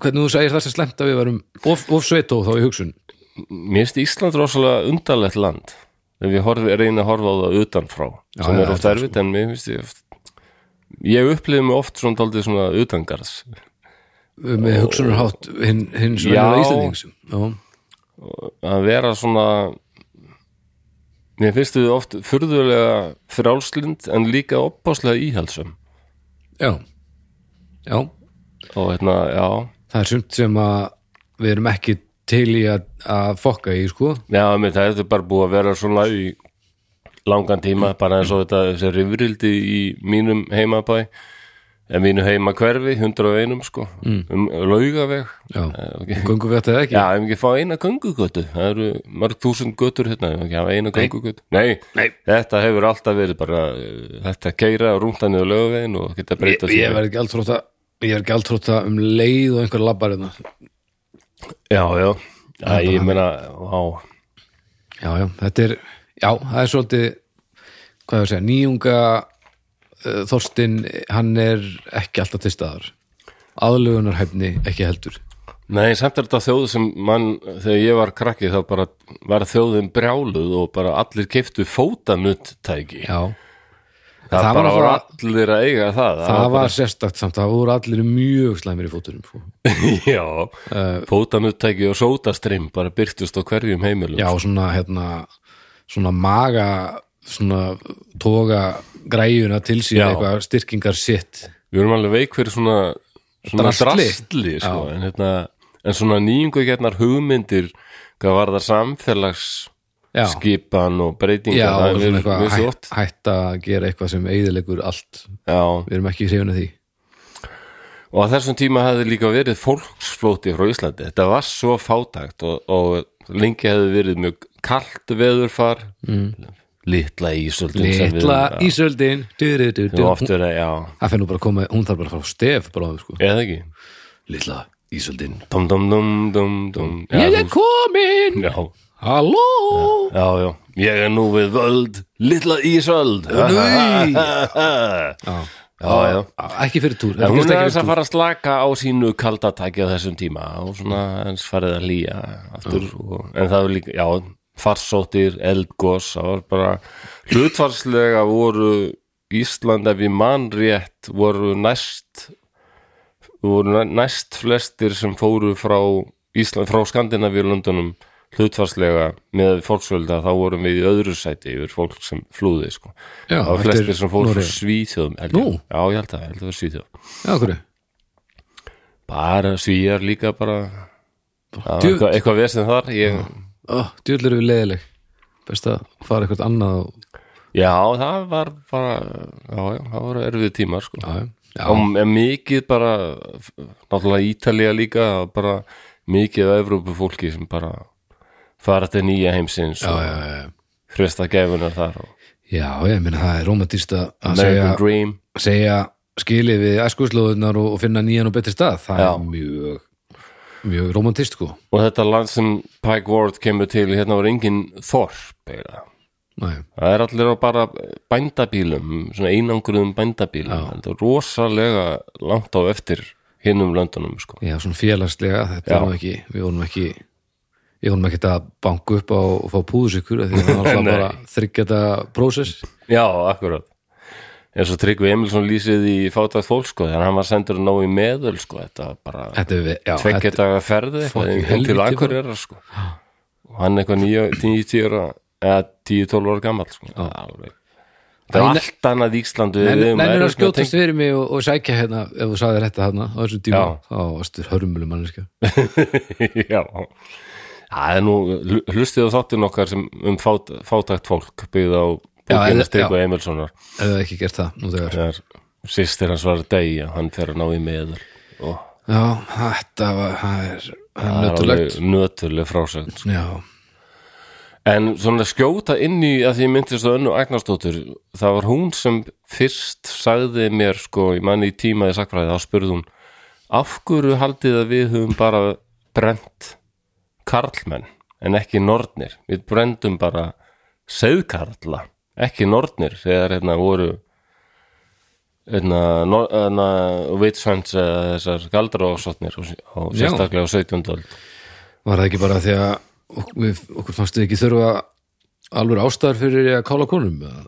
S2: hvernig þú segir það sem slemt að við varum of, of sveitó þá í hugsun
S1: Mér finnst Ísland rosalega undarlegt land þegar við horfi, reyna að horfa á það utanfrá sem
S2: já,
S1: er oft
S2: þetta
S1: erfitt en mér finnst ég oft ég upplifði mig oft svona daldið svona utangarðs
S2: með hugsunarhátt hinn
S1: Já.
S2: hin svennilega Íslandings já,
S1: að vera svona mér finnst þið oft furðulega frjálslind en líka oppáslega íhalsum
S2: já, já
S1: og hérna, já
S2: það er sumt sem að við erum ekki til í að, að fokka í sko
S1: já, mér það er bara búið að vera svona í langan tíma, bara eins og þetta þessi rifrildi í mínum heimabæ en mínu heima hverfi 101 sko, um laugaveg
S2: já,
S1: Eh, ok.
S2: gungum við þetta eða ekki
S1: Já, ef ekki fá eina göngugötu það eru mörg þúsund götur hérna ef ekki hafa eina göngugötu Nei,
S2: Nei.
S1: þetta hefur alltaf verið bara eh, þetta keira og rúnta niður lögavegin og geta
S2: ég,
S1: breyta
S2: ég verð ekki alltróta ég er ekki alltróta um leið og einhver labbar hérna
S1: Já, já, já ég meina á,
S2: Já, já, þetta er já, það er svolítið hvað er að segja, nýjunga uh, Þorstin, hann er ekki alltaf til staðar aðlugunarhæfni ekki heldur
S1: Nei, samt er þetta þjóð sem mann þegar ég var krakki þá bara var þjóðin brjáluð og bara allir keiftu fótanuttæki það,
S2: Já,
S1: það
S2: það var
S1: bara var
S2: náttúrulega-
S1: allir að eiga það
S2: það var sérstakt samt, það voru allir mjög slæmir í fótunum sko.
S1: bara, Já,
S2: Eh,
S1: fótanuttæki og sótastrim bara byrtust á hverjum heimilum
S2: Já, svona hérna svona maga svona toga græjuna til sín
S1: Já.
S2: eitthvað styrkingar sitt
S1: við erum alveg veik fyrir svona, svona
S2: Drasli.
S1: drastli, sko, en, hérna, en svona nýjungu getnar hugmyndir hvað var það samfélags
S2: Já,
S1: skipan og breytingar
S2: já
S1: það
S2: svona
S1: er
S2: eitthvað
S1: mjög
S2: hætt,
S1: þjótt
S2: hætt að gera eitthvað sem eigðilegur allt
S1: já,
S2: við erum ekki hrifinu því
S1: og á þessum tíma hefði líka verið fólksflóti frá Íslandi, þetta var svo fátækt og, og lengi hefði verið mjög kalt veðurfar mm. litla ísöldin sem við-
S2: litla
S1: já,
S2: ísöldin du, du, du,
S1: sem
S2: du.
S1: oft verið, já,
S2: það finnur bara að koma, hún þarf bara að fara á stef bráðu, sko.
S1: eða ekki
S2: litla ísöldin
S1: dum dum dum dum dum já,
S2: ég er komin,
S1: þú- já
S2: halló
S1: Já, já, ég er nú við völd Lilla Ísöld Já,
S2: Nei.
S1: já, já.
S2: ekki fyrir túr
S1: En
S2: það
S1: hún
S2: gerist
S1: er aðeins
S2: ekki fyrir
S1: að
S2: túr.
S1: fara að slaka á sínu kaldatæki á þessum tíma og svona eins farið að hlýja aftur og, en það er líka, já farsóttir, eldgos það var bara hlutfarslega voru Ísland ef ég man rétt voru næst voru næst flestir sem fóru frá Ísland, frá Skandinavíulöndunum hlutfarslega með fólksvölda þá vorum við í öðru sæti yfir fólk sem flúði sko.
S2: Já,
S1: það var
S2: þetta er
S1: flestir sem fóru frá
S2: Noregur.
S1: Svíþjóðum held
S2: Nú?
S1: ég. já, ég held að, ég held að það var Svíþjóð
S2: já, hverju
S1: bara svíjar líka bara Já,
S2: Djú-
S1: eitthvað, eitthvað vesinn þar ég,
S2: oh, djúðlega við leiðileg best að fara eitthvað annað og...
S1: já það var bara já, já, það voru erfið tímar sko.
S2: já, já,
S1: og m- mikið bara náttúrulega Ítalía líka bara mikið af Evrópu fólki sem bara fara til nýja heimsins
S2: já,
S1: og
S2: já, já, já.
S1: fresta gefunar þar og
S2: já ég meina það er romantist að að segja,
S1: American Dream
S2: segja skilið við æskuðslóðunar og, og finna nýjan og betri stað það
S1: Já.
S2: er mjög mjög romantist sko
S1: og þetta land sem Pike Ward kemur til hérna var engin þorp eða
S2: Nei,
S1: Það er allir á bara bændabílum, svona einangruðum bændabílum, þetta er rosalega langt á eftir hinnum löndunum, sko.
S2: já, svona félagslega þetta
S1: Já.
S2: er nú ekki, við vorum ekki við vorum ekki að banka upp á og fá púðusykur af því að það var
S1: Nei.
S2: bara þryggjata prósess
S1: Já, akkurat. En svo Tryggvi Emilsson lýsið í fátækt fólk, sko, þannig að hann var sendur að ná í meðöl, sko, þetta var bara
S2: Þetta er við, já,
S1: tveggja
S2: þetta,
S1: daga ferði,
S2: Fucking
S1: eitthvað, heim til
S2: helvíti,
S1: Akureyra, sko. Og hann eitthvað nýja, tíu, tíu ára, eða tíu, tólf ára gamall, sko. Alveg. Það
S2: Æ,
S1: er allt annað Íslandu
S2: Nennir að skjótast fyrir mig og, og sækja hérna ef þú sagði þetta hérna á þessum tíma
S1: Já.
S2: þá varstu hörmuleg manneska
S1: Já, það er nú hlu- hlustið á þáttinn okkar sem um fát, fátækt fólk byggð á
S2: Já, eða-
S1: bókina Strygu Emilssonar
S2: eða ekki gert það nú þegar
S1: þegar sýstir hans var að deyja hann fer að ná í meður og
S2: Já, þetta var, það er, það
S1: það
S2: er
S1: er
S2: nöttulegt
S1: alveg nötuleg frásögn sko.
S2: Já,
S1: en svona skjóta inn í að því ég myndist á önnu Agnarsdóttur það var hún sem fyrst sagði mér sko, ég manni í tímaði sakfræði þá spurði hún, af hverju haldið að við höfum bara brent karlmenn en ekki nornir, við brendum bara seðkarla ekki nornir, þegar hérna voru hérna, nor- hérna vitsvæns eða þessar galdrófsotnir og, og
S2: Já.
S1: sérstaklega á 17. öld
S2: var það ekki bara því að ok- við, okkur fannst þið ekki þurfa alveg ástæðar fyrir að kála konum eða?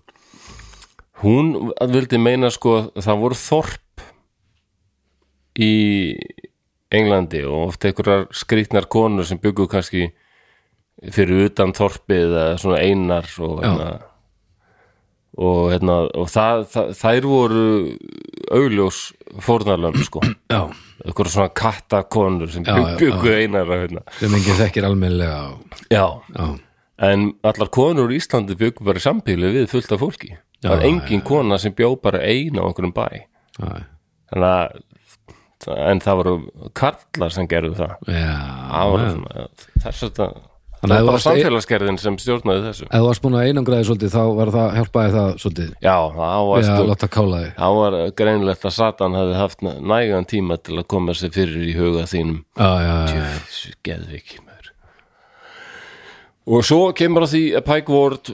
S1: hún vildi meina sko að það voru þorp í Englandi og oft einhverjar skrýtnar konur sem byggu kannski fyrir utan þorpið eða svona einar og hérna og hérna og það, það, þær voru augljós fórnarlönd sko
S2: Já,
S1: einhverjar svona kattakonur sem
S2: Já, já,
S1: byggu, byggu einar hérna.
S2: sem enginn þekkir almennilega og-
S1: já,
S2: Já,
S1: En allar konur í Íslandi byggu bara í sambíli við fullt af fólki. það var engin kona sem bjó bara eina á einhverjum bæ.
S2: já,
S1: Þannig að, en það voru karlar sem gerðu það.
S2: já
S1: Það var svona, þess að það
S2: Þannig
S1: var
S2: að þú
S1: bara
S2: varst ein-
S1: samfélagsgerðin sem stjórnaði þessu.
S2: Ef þú varst búin að einangraði svolítið þá var það, hjálpaði það svolítið
S1: Já, það var,
S2: Já,
S1: stu,
S2: láta kála þig
S1: það var greinlegt að Satan hefði haft nægan tíma til að koma sér fyrir í huga þínum.
S2: Já, já, já, já
S1: Þessu geðviki maður Og svo kemur að því að Pike Ward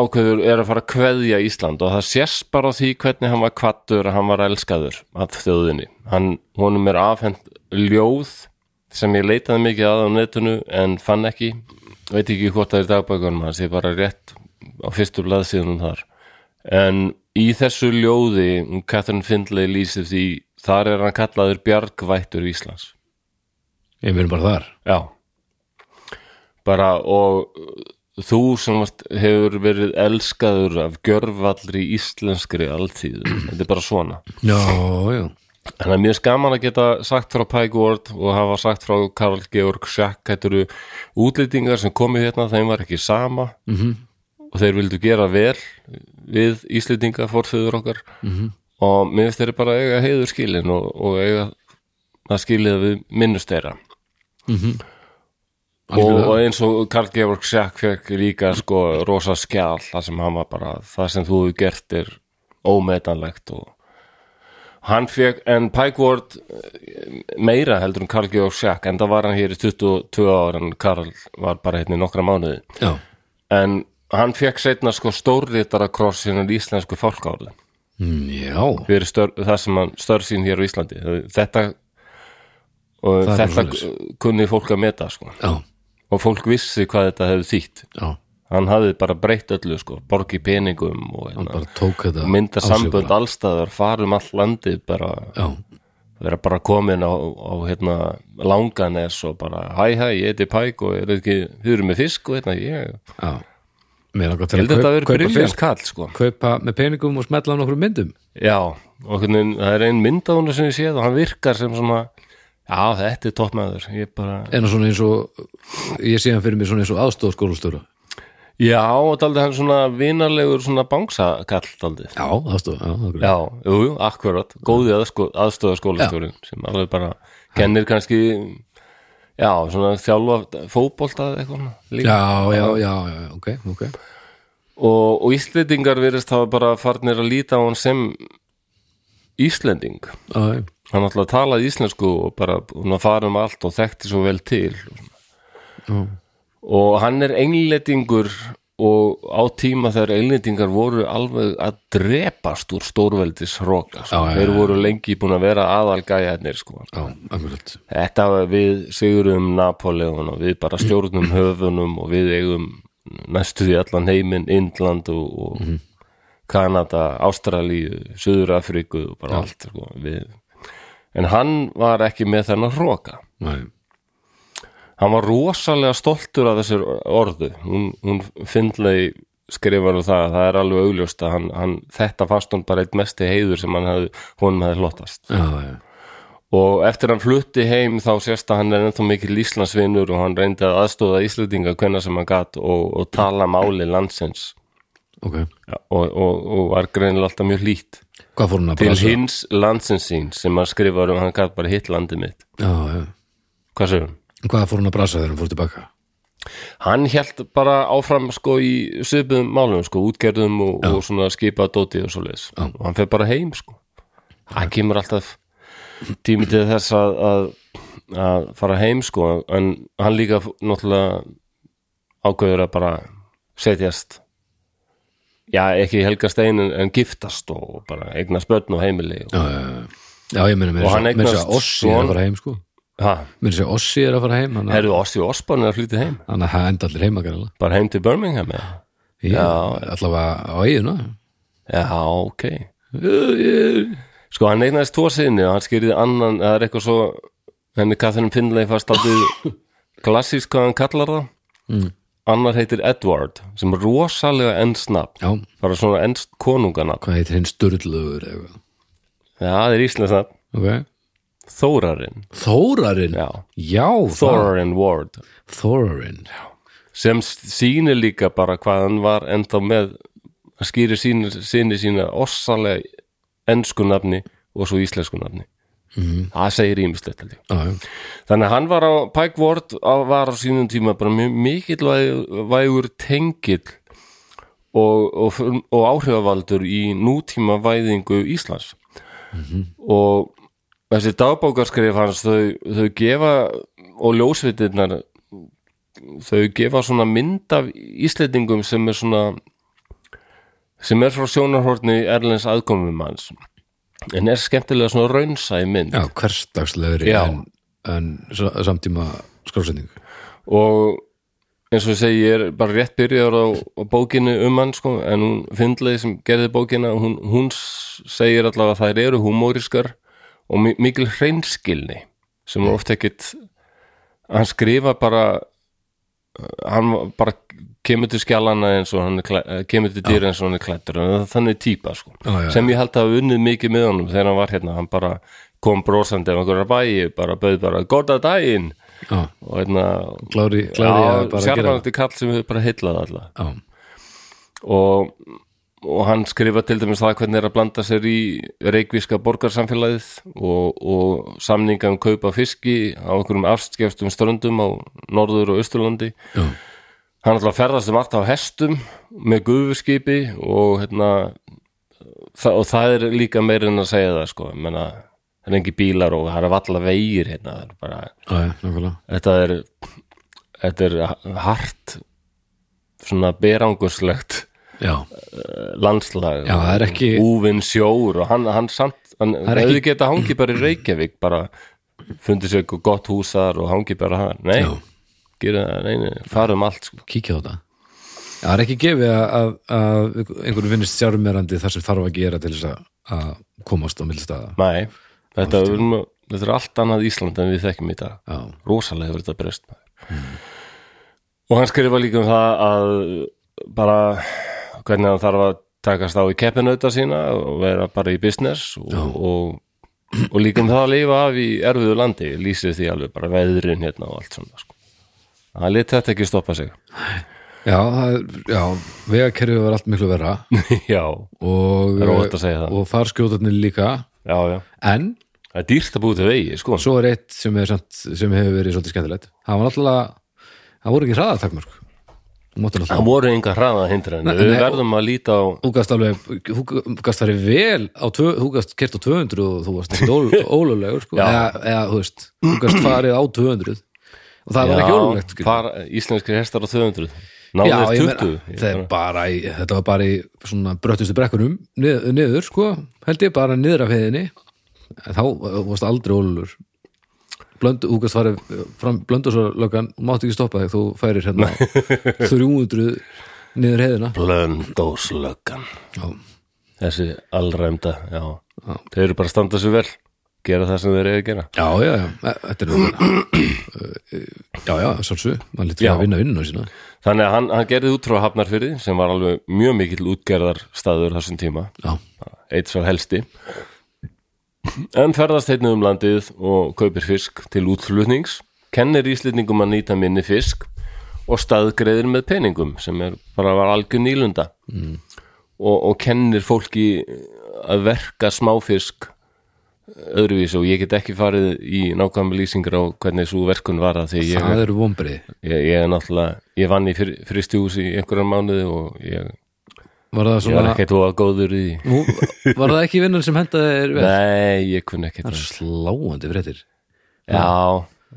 S1: ákveður er að fara að kveðja Ísland og það sérst bara á því hvernig hann var kvattur að hann var elskaður af þjóðinni hann, honum er afhent ljóð sem ég leitaði mikið að á netinu en fann ekki veit ekki hvort það er í dagbækunum hans ég bara rétt á fyrstu blaðsíðunum þar en í þessu ljóði Catherine Findlay lýsir því þar er hann kallaður bjargvættur Íslands
S2: Ég verðum bara þar
S1: Já bara og uh, þú sem varst, hefur verið elskaður af gjörvallri íslenskri alltíðu, þetta er bara svona
S2: Já, já,
S1: þannig að mér er skaman að geta sagt frá Pike Ward og hafa sagt frá Karl Georg Schack, þetta eru útlýtingar sem komu hérna, þeim var ekki sama -hmm. og þeir vildu gera vel við íslýtinga fórföður okkar -hmm. og mér finnst þeirri bara að eiga heiður skilin og, og eiga það skilið að við minnust þeirra og, og eins og Karl Georg Sjakk fekk líka sko rosa skjál það sem hann var bara, það sem þú hefur gert er ómetanlegt og hann fekk, en Pike Ward eh, meira heldur en Karl Georg Sjakk en það var hann hér í 22 ára en Karl var bara hérna í nokkra mánuði
S2: já,
S1: en hann fekk setna sko stórritara kross hérna í íslensku fálkáli
S2: Mm, já.
S1: fyrir stör, það sem hann störf sín hér á Íslandi þetta og
S2: Það er
S1: þetta
S2: bara
S1: kunni fólk að meta sko.
S2: já,
S1: og fólk vissi hvað þetta hefði þýtt
S2: já
S1: hann hafði bara breytt öllu sko, borgi peningum og
S2: bara
S1: hérna,
S2: tók þetta
S1: mynda
S2: á sig
S1: sambönd
S2: bara.
S1: allstaðar, farum all um landið bara,
S2: já,
S1: vera bara komin á, á hérna, langanes og bara, hæ hæ, ég heiti Pæk og er ekki, þið eru með fisk og hérna, ég
S2: já mér langar til
S1: held að þetta verið
S2: kaupa
S1: briljant
S2: fisk
S1: kall sko.
S2: kaupa með peningum og smetla á nokkrum myndum
S1: Já, og hvernig, það er ein mynd á hún sem ég séð og hann virkar sem svona já, þetta er toppmaður ég bara,
S2: en svona eins og ég sé hann fyrir mér svona eins og aðstóð skólastjóra
S1: já, og daldið hann svona vinarlegur svona bangsakall daldið,
S2: já, aðstóð, já, það er
S1: já, jú, jú, akkurat góði aðsko, aðstöða skólastjórin sem alveg bara kennir kannski já, svona þjálfa fótbolta eða eitthvað svona líka.
S2: já, já, já, já, já, ok, ok
S1: og, og Íslendingar virðist hafa bara farnir að líta á hann sem Íslending
S2: já, já,
S1: hann alltaf talaði íslensku og bara hún að fara um allt og þekkti svo vel til
S2: já,
S1: og hann er englendingur og á tíma þegar englendingar voru alveg að drepast úr stórveldis hróka sko.
S2: Já, já, já.
S1: þeir voru lengi búin að vera aðalgæjarnir sko.
S2: já, akkurat
S1: þetta var við sigurum Napoleon og við bara stjórnum höfunum og við eigum næstu því allan heiminn Indland og, og Kanada, Ástralíu Suður Afríku og bara allt sko. við. en hann var ekki með þennan hróka
S2: Nei.
S1: hann var rosalega stoltur af þessir orðu hún, hún finnlegi skrifar um það það er alveg augljóst að hann, hann þetta fast hún bara eitt mesti heiður sem hann hefði, honum hefði hlotast
S2: já, já,
S1: og eftir hann flutti heim þá sést að hann er ennþá mikill Íslandsvinnur og hann reyndi að aðstóða Íslendinga hvenna sem hann gat og, og tala máli landsins
S2: ok
S1: Ja, og, og, og var greinilega alltaf mjög hlýtt
S2: hvað fór hann að
S1: til
S2: brasa?
S1: hins landsins sín sem hann skrifar um hann gat bara hitt landið mitt
S2: já, já,
S1: hvað segir hann?
S2: hvað fór hann að brasa þegar hann fór tilbaka
S1: hann held bara áfram sko í söpum málum sko, útgerðum og, og svona skipa dóti og svo leis og hann fer bara heim sko hann kemur alltaf tími til þess að, að, að fara heim sko en hann líka f- náttúrulega ákveður að bara setjast já ekki helgast einu en, en giftast og bara eignast börn og heimili og,
S2: já, já, já. já, ég meina mér
S1: Og hann
S2: að
S1: eignast
S2: segja Ossi er
S1: son.
S2: að fara heim sko
S1: ha,
S2: mér að segja Ossi er að fara heim hann að-
S1: herðu Ossi Osborn er að flytja heim
S2: hann að það enda allir heima gæla
S1: bara heim til Birmingham eða?
S2: já, allavega á eiginu
S1: já ok Sko hann eignaðist tvo sinni og hann skýrði annan, það er eitthvað svo henni Catherine Finlay fast aldrei klassísk hvað hann kallar það
S2: Mm.
S1: annar heitir Edward sem er rosalega ensnafn
S2: já,
S1: bara svona enst konunganafn
S2: hvað heitir hinn Sturlugur eða eitthvað?
S1: já, það er íslensnafn,
S2: ok,
S1: Þórarinn
S2: Þórarinn
S1: já,
S2: já það-
S1: Þórarinn Ward
S2: Þórarinn
S1: sem sýnir líka bara hvað hann var ennþá með að skýri síni, síni sína ossalega ensku nafni og svo íslensku nafni mm. það segir ímislegt held ég
S2: já, já,
S1: Þannig að hann var á, Pike Ward á, var á sínum tíma bara mjög mikill væ- vægur tengill og, og, og áhrifavaldur í nútíma væðingu Íslands og þessi dagbókarskrif hans þau, þau gefa og ljósvitirnar þau gefa svona mynd af Íslendingum sem er svona sem er frá sjónarhorni Erlens aðkomum hans en er skemmtilega svona raunsa í mynd
S2: já hversdagslegri
S1: Já.
S2: en, en sa- samtíma skrásending
S1: og eins og ég segi, ég er bara rétt byrjar á, á bókinu um hann sko, en hún fyndlega sem gerði bókina hún, hún s- segir allavega að þær eru humóriskar og mi mikil hreinskilni sem er oft ekkit hann skrifa bara hann bara kemur til skjallana eins og hann er klæ- eh, kemur til dýra eins og hann er klættur þannig típa sko
S2: Já, já, já.
S1: sem ég held að hafa unnið mikið með honum þegar hann var hérna, hann bara kom brosandi af einhverjar bæi, bara bauð bara góta daginn
S2: já,
S1: og hérna
S2: klári, klári að
S1: Já,
S2: bara gera
S1: sjarmanandi kall sem hefur bara heillað alla
S2: já,
S1: og og hann skrifa til dæmis það hvernig er að blanda sér í reikvíska borgarsamfélagið og, og samninga um kaupa fiski á einhverjum afskefstum ströndum á Norður og Östurlandi
S2: Já.
S1: hann alltaf ferðast um allt á hestum með gufuskipi og hérna það, og það er líka meira en að segja það sko, ég menna það er engi bílar og það er valla vegir hérna, það er bara,
S2: Já, já, nákvæmlega.
S1: þetta er þetta er hart svona berangurslegt
S2: Já,
S1: landslag
S2: Já, það er ekki-
S1: úvinn sjór og hann, hann samt hann,
S2: er
S1: það er
S2: ekki-
S1: ekki geta hangi bara í Reykjavík bara fundið sér eitthvað gott hús þar og hangi bara hann, nei,
S2: Já.
S1: gera það neini, farum allt sko.
S2: kíkja á þetta. Já, það er ekki gefið að, að, að einhverjum finnist sjármerandi þar sem þarf að gera til þess að, að komast á millstaða.
S1: nei, þetta, við erum að- þetta er allt annað Ísland en við þekkjum í dag
S2: Já, Hmm.
S1: rosalega hefur þetta breyst maður. og hann skrifa líka um það að bara hvernig hann þarf að takast á í keppinauta sína og vera bara í business og, og, og líka um það að lifa af í erfiðu landi lýsir því alveg bara veðurinn hérna og allt svona sko. hann leti þetta ekki stoppa sig
S2: já, það er- já vegakerfið var allt miklu verra
S1: já,
S2: og,
S1: Það er óhætt að segja það.
S2: og farskjótarnir líka
S1: já, já
S2: en
S1: það er dýrt að búið til vegi sko.
S2: svo er eitt sem, er samt, sem hefur verið svolítið skemmtilegt það var náttúrulega, það voru ekki hraðatakmörk þú máttu
S1: það
S2: náttúrulega
S1: voru enga hraða hindræðinu
S2: Nei,
S1: við
S2: nei,
S1: verðum að líta á
S2: þú gast alveg, þú þú gast farið vel á tvö, þú gast kert á 200 og þú varst ekki ólulegur sko.
S1: Já.
S2: eða, eða, þú veist, þú gast farið á 200 og það var ekki ólulegt
S1: já, fara, íslenskri hestar á 200
S2: Já,
S1: náður
S2: ég
S1: 20
S2: meina, það er bara í, þetta var bara í svona bröttustu brekkunum niður, niður sko, held ég bara niður af heiðinni þá uh, varst aldrei ólulur Blöndu, þú gæst farið uh, fram blöndurslökan og mátt ekki stoppa þig, þú færir hérna á 300 niður heiðina
S1: Blöndóslöggan
S2: Já,
S1: Þessi allræmda, já Þeir eru bara að standa sér vel Gera það sem þeir eru að gera
S2: já, já, já, e- þetta er náttúrulega Já, já, sálsveg, maður lítur
S1: Já.
S2: að vinna vinnuna sína
S1: Þannig að hann, hann gerði út frá Hafnarfyrði sem var alveg mjög mikill útgerðar staður þessum tíma
S2: Já,
S1: eitt svo helsti en ferðast einnig um landið og kaupir fisk til útflutnings kennir íslendingum að nýta minni fisk og staðgreðir með peningum sem er bara var algjör nýlunda og, og kennir fólki að verka smáfisk öðruvísi og ég get ekki farið í nákvæmlega lýsingar á hvernig svo verkun var að því ég,
S2: það eru vombrið
S1: ég, ég er náttúrulega ég vann í fyr, fristjús í einhverjar mánuði og ég,
S2: Var það
S1: ég var
S2: svona,
S1: ekkert og góður í því
S2: nú, var það ekki vinnan sem hendaði er vel?
S1: Nei, ég kunni ekki það
S2: Sláandi fréttir
S1: Já,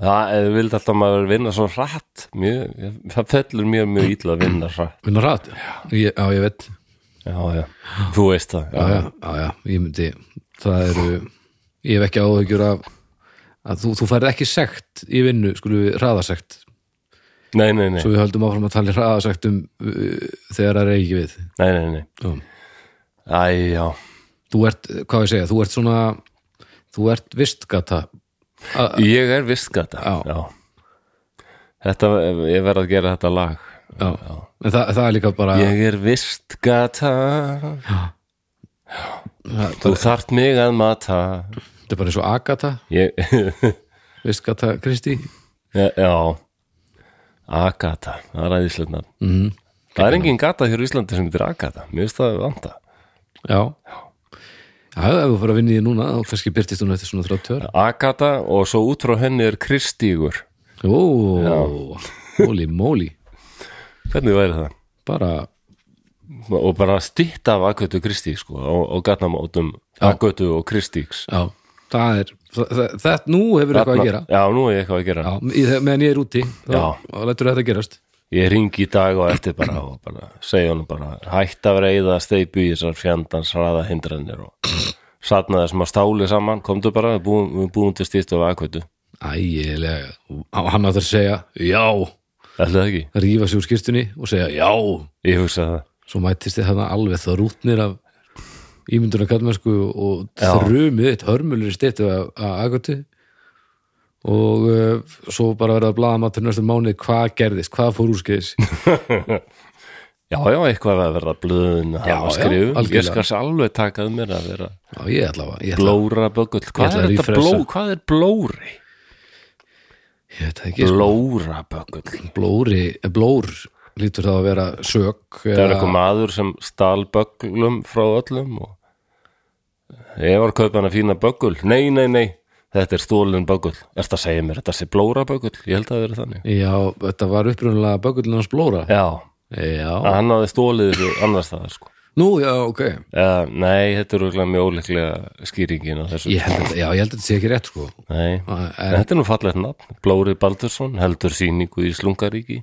S1: það er vild alltaf maður vinna svo hratt mjög, það fellur mjög mjög ítla að vinna hratt
S2: Vinna rætt? Ég, já, ég veit
S1: Já, já, þú veist það
S2: já,
S1: Já,
S2: já, já, já, ég myndi það eru, ég hef ekki áhugjur af að þú, þú færð ekki sekt í vinnu, skulum við hraðasekt
S1: Nei, nei, nei,
S2: svo við höldum áfram að tala í hraðasekt um uh, þegar það er ekki við
S1: nei, nei, nei
S2: já.
S1: Æ, já,
S2: þú ert, hvað ég segja, þú ert svona þú ert vistgata A-
S1: ég er vist gata
S2: Já.
S1: Þetta, ég verð að gera þetta lag
S2: já, en það, það er líka bara
S1: Ég er vist gata
S2: það,
S1: Þú þart mig að mata
S2: það er bara eins og Agata
S1: Ég,
S2: vistgata Kristi
S1: já Agata, það er æðislega mm. Það er engin gata hér í Íslandi sem heitir Agata Mér finnst það vanda
S2: já, já, ef þú fyrir að vinna í því núna þá kannski byrtist hún eftir svona 30 ára
S1: Agata og svo út frá henni er Kristígur
S2: Ó, holy moly
S1: hvernig væri það?
S2: bara,
S1: og bara stýtt af Agötu Kristíg sko, og, og gatnamótum Agötu og Kristígs
S2: já, það er þetta, nú hefur eitthvað að gera
S1: já, nú er ég eitthvað að gera
S2: já, í, þe- meðan ég er úti þá,
S1: Já.
S2: þá lætur þetta gerast
S1: ég ringi í dag og eftir bara og bara segja honum bara hætt að reyða steipu í þessar fjandans hraða hindranir og satnaði sem að stáli saman komdu bara, við búum, við búum til stýtt af Agötu
S2: ægilega, Á- hann átt að segja já,
S1: ætlaði það ekki,
S2: rífa sig úr skýrstunni og segja já,
S1: ég hugsa það
S2: svo mættist þið þarna alveg það rútnir af ímynduna kallmennsku og þrumið eitt hörmulur stýttu að agötu og uh, svo bara verða að blaða maður til næstu mánuði hvað gerðist, hvað fór úr skeiðis
S1: já, já, eitthvað að vera blöðun að hafa
S2: já,
S1: skrifum, ég
S2: algjörlega.
S1: skal alveg takað mér að vera
S2: já, ég ætla að, ég ætla að
S1: Blóra böggull, hvað
S2: ætla
S1: er
S2: að
S1: þetta
S2: refresa.
S1: bló, hvað er blóri?
S2: ég veit það ekki,
S1: Blóra böggull
S2: blóri, blór lítur það að vera sök eh,
S1: Það er eitthvað maður sem stal bögglum frá öllum og ég var að kaupa hana fína böggul Nei, nei, nei, þetta er stólin böggul Ertu að segja mér, þetta sé blóra böggul Ég held að það verið þannig
S2: Já, þetta var upprunalega bökullin hans Blóra
S1: Já,
S2: Já,
S1: hann hafði stólið þessu annars það sko.
S2: nú, já, ok
S1: uh, Nei, þetta er örugglega mjög óleiklega skýringin á þessu
S2: Ég held að, já, ég held að þetta sé ekki rétt sko
S1: Nei, en þetta er nú fallegt nafn Blóri Baldursson, heldur sýningu í Slungaríki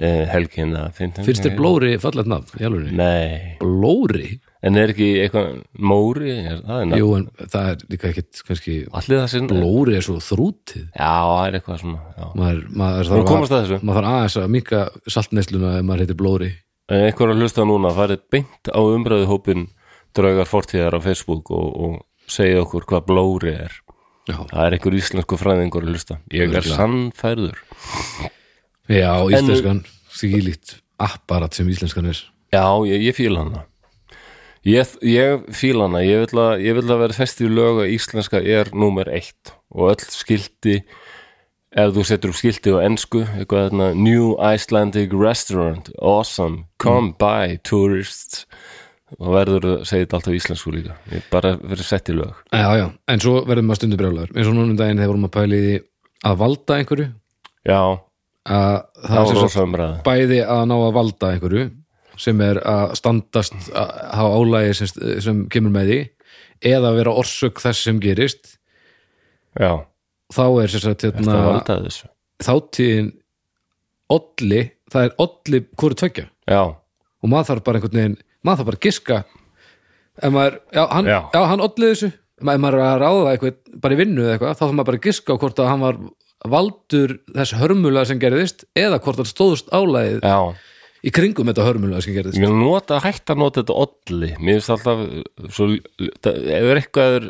S1: eh, helgina
S2: Finnst þér Blóri fallet nafn, í alveg
S1: Nei,
S2: Blóri?
S1: en er ekki eitthvað Móri, er, það er nafn
S2: Jú, en það er líka ekkit, kannski
S1: Allir það sinna
S2: Blóri er svo þrútið
S1: Já, það er eitthvað svona já.
S2: Maður, maður þarf
S1: komast að þessu.
S2: maður þarf aðeins að minka saltneisluna ef maður heitir Blóri
S1: En einhver að hlusta núna, farið beint á umræðu hópin draugar fortíðar á Facebook og, og segja okkur hvað blóri er
S2: Já,
S1: Það er einhver íslensku fræðingur að hlusta Ég er
S2: Örugglega.
S1: sannfærður
S2: já íslenskan þvílíkt apparat sem íslenskan er
S1: Já, ég, ég fíla hana Ég, ég fíla hana, ég vil, að, ég vil að vera fest í lög að íslenska er númer eitt og öll skildi ef þú setur upp skildi á ensku eitthvað þarna, New Icelandic Restaurant Awesome, come by tourists og verður að segja þetta alltaf á íslensku líka ég bara verið sett í lög
S2: Já, já, en svo verðum maður stundu brjálæður eins og núna um daginn þegar vorum að pæli því að valda einhverju
S1: Já,
S2: að
S1: það
S2: það
S1: var
S2: er sem sagt
S1: rosa umræða
S2: bæði að ná að valda einhverju sem er að standast að hafa álægi sem, sem kemur með því eða að vera orsök þess sem gerist
S1: Já,
S2: þá er sem sagt
S1: það var
S2: hérna,
S1: alltaf þessu
S2: þáttíðin olli, það er olli hvori tvekja
S1: Já,
S2: og maður þarf bara einhvern veginn maður þarf bara að giska ef maður, já, hann, já.
S1: Já.
S2: hann olli þessu Ma- ef maður er að ráða eitthvað, bara í vinnu eða eitthvað þá þarf maður bara að giska á hvort að hann var valdur þess hörmulega sem gerðist eða hvort hann stóðust álæðið
S1: já
S2: í kringum þetta hörmulega sem gerðist
S1: Ég vil nota, hætta að nota þetta olli Mér finnst alltaf uh, svo, það, Ef er eitthvað er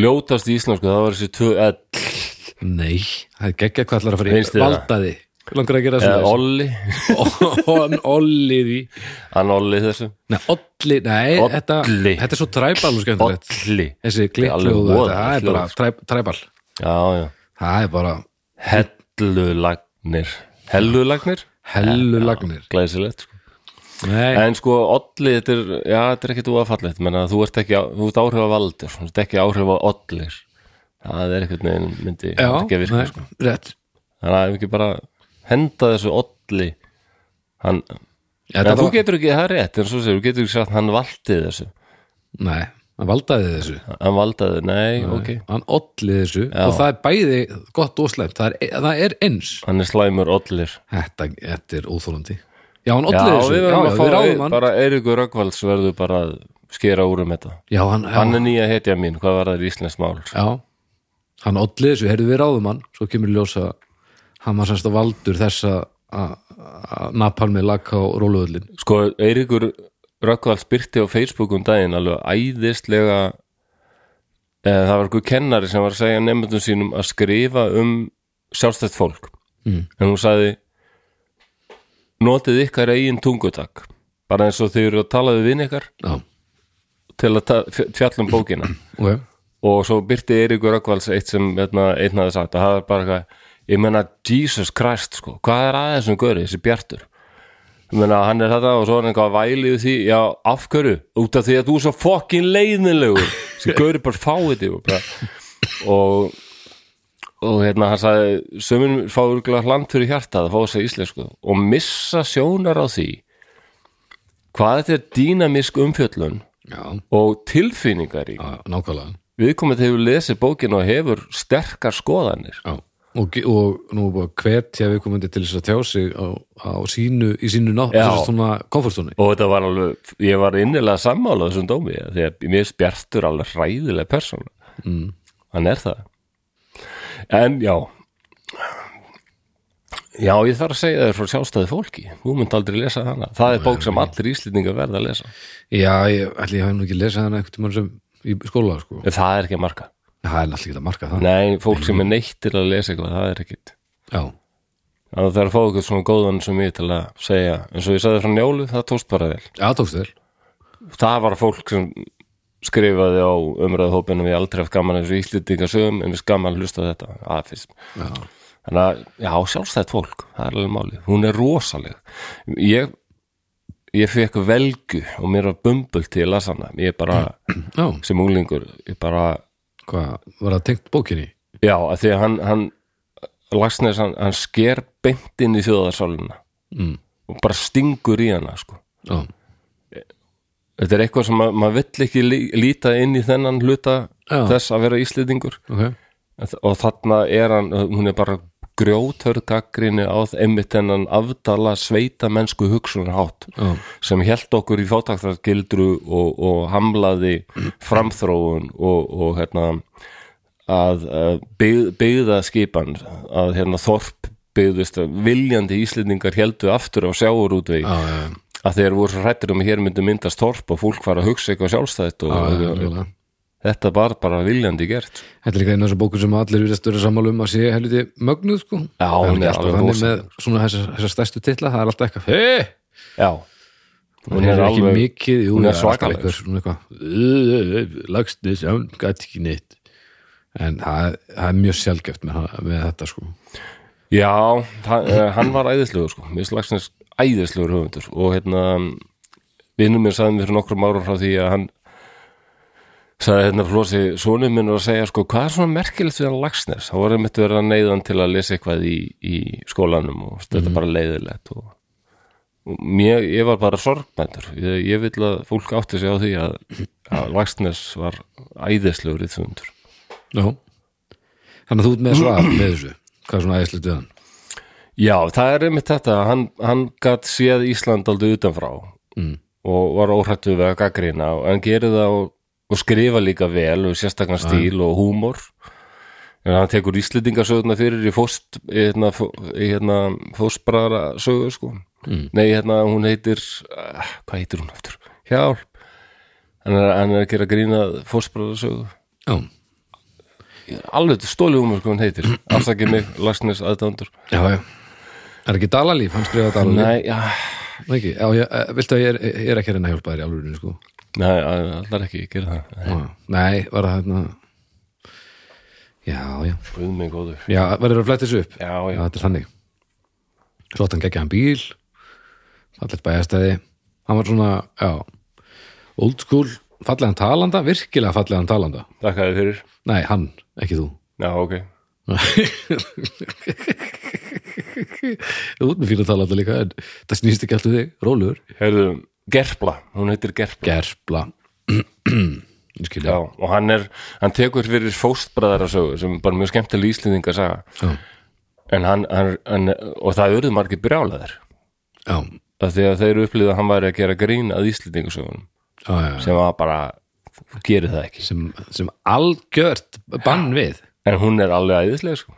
S1: ljótast í íslensku Það var þessi tvö ell
S2: Nei, það er geggjað hvað ætlar að fara
S1: Finnst
S2: í
S1: þér það?
S2: valdaði Langar að gera
S1: Eða
S2: þessu
S1: olli
S2: Hann olli því
S1: Hann olli þessu
S2: Nei, olli, nei,
S1: Olli.
S2: Þetta, þetta er svo træbal og skemmtilegt
S1: Olli
S2: Þessi
S1: alveg
S2: klikkljóð,
S1: voða
S2: það er bara
S1: hljóð, sko.
S2: træ, træbal
S1: Já, já
S2: Það er bara
S1: Hellulagnir Hellulagnir?
S2: hellu lagnir
S1: Glæsilegt sko.
S2: Nei,
S1: En sko, olli, þetta er, já, þetta er ekkit úafallegt menna, þú ert ekki, á- þú ert áhrif af aldur þú ert ekki áhrif af ollir það er eitthvað neginn myndi
S2: já,
S1: myndi ekki að virka,
S2: nei,
S1: sko.
S2: rétt
S1: þannig að ef ekki bara henda þessu olli hann, en
S2: Þetta
S1: þú
S2: var-
S1: getur ekki, það er rétt en svo segir, þú getur ekki sagt hann valdi þessu
S2: Nei, hann valdaði þessu
S1: hann valdaði, nei, ok
S2: Hann olli þessu og það er bæði gott og slæmt Það er, e- það er eins
S1: hann er slæmur ollir
S2: Þetta, þetta er óþólandi Já, hann olli
S1: já,
S2: þessu
S1: við
S2: já,
S1: verðum
S2: já,
S1: að
S2: við
S1: fá
S2: ráðum hann
S1: bara Eiríkur Röggvalds verður bara að skera úr um þetta
S2: Já, hann, já,
S1: hann er nýja hetja mín, hvað var það í Íslands mál
S2: Já, hann olli þessu, heyrðu við ráðum hann svo kemur í ljós að hann var semst að valdur þess að- að að napalmi laka á róluðullin
S1: sko, Eiríkur Röggvalds byrti á Facebook um daginn alveg æðislega eða það var einhver kennari sem var að segja nefndum sínum að skrifa um sjálfstætt fólk mm. en hún sagði notið ykkar eigin tungutak bara eins og þau eru að tala við vinn ykkar
S2: Já,
S1: til að ta- fj- fjalla um bókina
S2: ok
S1: og svo byrti Eiríkur Röggvalds eitt sem hérna, einn hafði sagt að það er bara eitthvað, ég menna Jesus Christ sko, hvað er aðeins um görið þessi bjartur ég menna hann er þetta og svo er hann eitthvað vælið því, já af hverju út af því að þú er svo fokkin leiðinlegur þessi görið bara fáið því og, bara, og og hérna hann sagði sömur fáur glæð hlant fyrir hjartað að fá þess að íslensku og missa sjónar á því hvað þetta er dýnamisk umfjöllun
S2: Já,
S1: og tilfinningarík
S2: já, nákvæmlega
S1: viðkomandi hefur lesið bókin og hefur sterkar skoðanir
S2: já. Og, ge- og nú er búið að hvetja við komandi til þess að tjá sig á, á sínu, í sínu ná,
S1: Já.
S2: þess að svona komfortzóni
S1: og þetta var alveg, ég var innilega sammála þessum dómi, því að mér finnst Bjartur alveg hræðilega persóna mm. hann er það en já já, ég þarf að segja þér frá sjálfstæði fólki, þú mynd aldrei lesa hana það er bók sem allir íslendingar verða að lesa
S2: Já, ég, ætli ég hef nú ekki lesað hann eitthvað mann sem í skóla, sko
S1: ef það er ekki að marka
S2: Það er náttúrulega ekki að marka það
S1: nei, fólk sem er neitt til að lesa eitthvað, það er ekkit
S2: Já,
S1: þannig að það er að fá eitthvað svona góðan sem ég til að segja, eins og ég sagði frá njólu það tóst bara vel
S2: já tókst þér
S1: það var fólk sem skrifaði á umræðahópinu við aldrei haft gaman eins og íslendinga sögum en við skaman hlusta á þetta að fyrst
S2: Já,
S1: þannig að, já, sjálfstætt fólk það er alveg málið, hún er rosaleg ég, ég fekk velgu og mér var bumbul til að lasa hana, ég bara
S2: Já,
S1: sem úlingur, ég bara
S2: hvað, var það tengt bókinni?
S1: já, að því að hann, hann Lagsnes, hann, hann sker beint inn í þjóðarsálina
S2: Mm.
S1: og bara stingur í hana, sko
S2: Já,
S1: þetta er eitthvað sem ma- maður vill ekki lí- líta inn í þennan hluta
S2: Já.
S1: þess að vera íslendingur
S2: ok
S1: og þarna er hann, hún er bara grjóthörð gaggrinni á þ- einmitt hennan afdala sveita mennsku hugsunarhátt
S2: Já,
S1: sem held okkur í fátaktargildru og, og hamlaði framþróun og, og hérna að, að byð, byggða skipan að hérna þorp byggðist viljandi íslendingar heldu aftur á sjáurútvegi
S2: já, já, já,
S1: að þeir voru svo hrættir um að hér myndi myndast torp og fólk var að hugsa eitthvað sjálfstætt og
S2: já, já, já.
S1: þetta var bara viljandi gert sko.
S2: Þetta er líka einu af þessar bókur sem allir virðast vera sammála um að sé helviti mögnuð sko.
S1: Já,
S2: Það
S1: hún
S2: ekki
S1: er
S2: alltaf
S1: alveg
S2: þannig
S1: rosa.
S2: með svona þessar, þessar stærstu titla, það er alltaf eitthvað hey!
S1: já,
S2: hún er, ekki mikið, jú,
S1: hún er
S2: það alltaf
S1: svakaleg.
S2: eitthvað, svona eitthvað lagstu sján, gæti ekki neitt en það, það er mjög sjálfgeft með, með þetta sko
S1: já það, eh, hann var æðislegur sko, mér slagsnes æðislegur höfundur og hérna vinnum minn sagði mér fyrir nokkrum ára frá því að hann sagði hérna flósi, sonum minn var að segja sko, hvað er svona merkilegt við hann lagsnes þá var einmitt verið að neyða hann til að lesa eitthvað í, í skólanum og þetta
S2: Mhm.
S1: er bara leiðilegt og, og mér, ég var bara sorgmæntur ég, ég vil að fólk átti sig á því að, að lagsnes var æðislegur í þundur
S2: Já. þannig að þú ert með svar með þessu, hvað er svona æðislegt við hann
S1: Já, það er einmitt þetta hann, hann gatt séð Ísland aldrei utanfrá
S2: Mm.
S1: og var óhrættu við að gaggrina og hann gerir það og, og skrifa líka vel og sérstakann stíl og húmor en hann tekur Íslendingasöðuna fyrir í fóst í hérna, fó- í hérna fóstbræðra sögu sko mm. nei, hérna hún heitir uh, hvað heitir hún aftur? Hjálp hann er, hann er að gera grína fóstbræðra sögu
S2: Já,
S1: alveg stólið húmor hvað hún heitir afsakið mig, lagsnes aðdándur
S2: já, já Er ekki Dalalíf, hann skrifaði Dalalíf
S1: Nei, ah, já,
S2: Nei, ekki, já, ég, eh, viltu að ég er, ég er ekki að reyna að hjálpa þér í alvörinu sko
S1: Nei, allar ekki, ég gera það
S2: Já. Nei, var það hérna Já, já
S1: Guð mig góður
S2: Já, verður að flætti þessu upp
S1: Já,
S2: Já,
S1: já,
S2: þetta er þannig Svo átti hann geggja hann bíl Fallet bæjastæði Hann var svona, já Old school, fallegan talanda, virkilega fallegan talanda
S1: þakkaði fyrir
S2: Nei, hann, ekki þú
S1: Já, ok
S2: Þú út með fína talanda líka en það snýst ekki alltaf þig, rólur
S1: Herðu, Gerpla, hún heitir Gerpla
S2: Gerpla Ég skil
S1: Já,
S2: ég
S1: og hann er, hann tekur fyrir fóstbræðara sögu sem er bara mjög skemmtileg íslendinga saga
S2: Já,
S1: en hann, hann, hann og það eruðu margir brjálaðir
S2: já,
S1: af því að þeir upplýðu að hann væri að gera grín að íslendingasögunum
S2: já, já, já.
S1: sem var bara, gerir það ekki
S2: Sem, sem algjört bann við
S1: en hún er alveg æðislega sko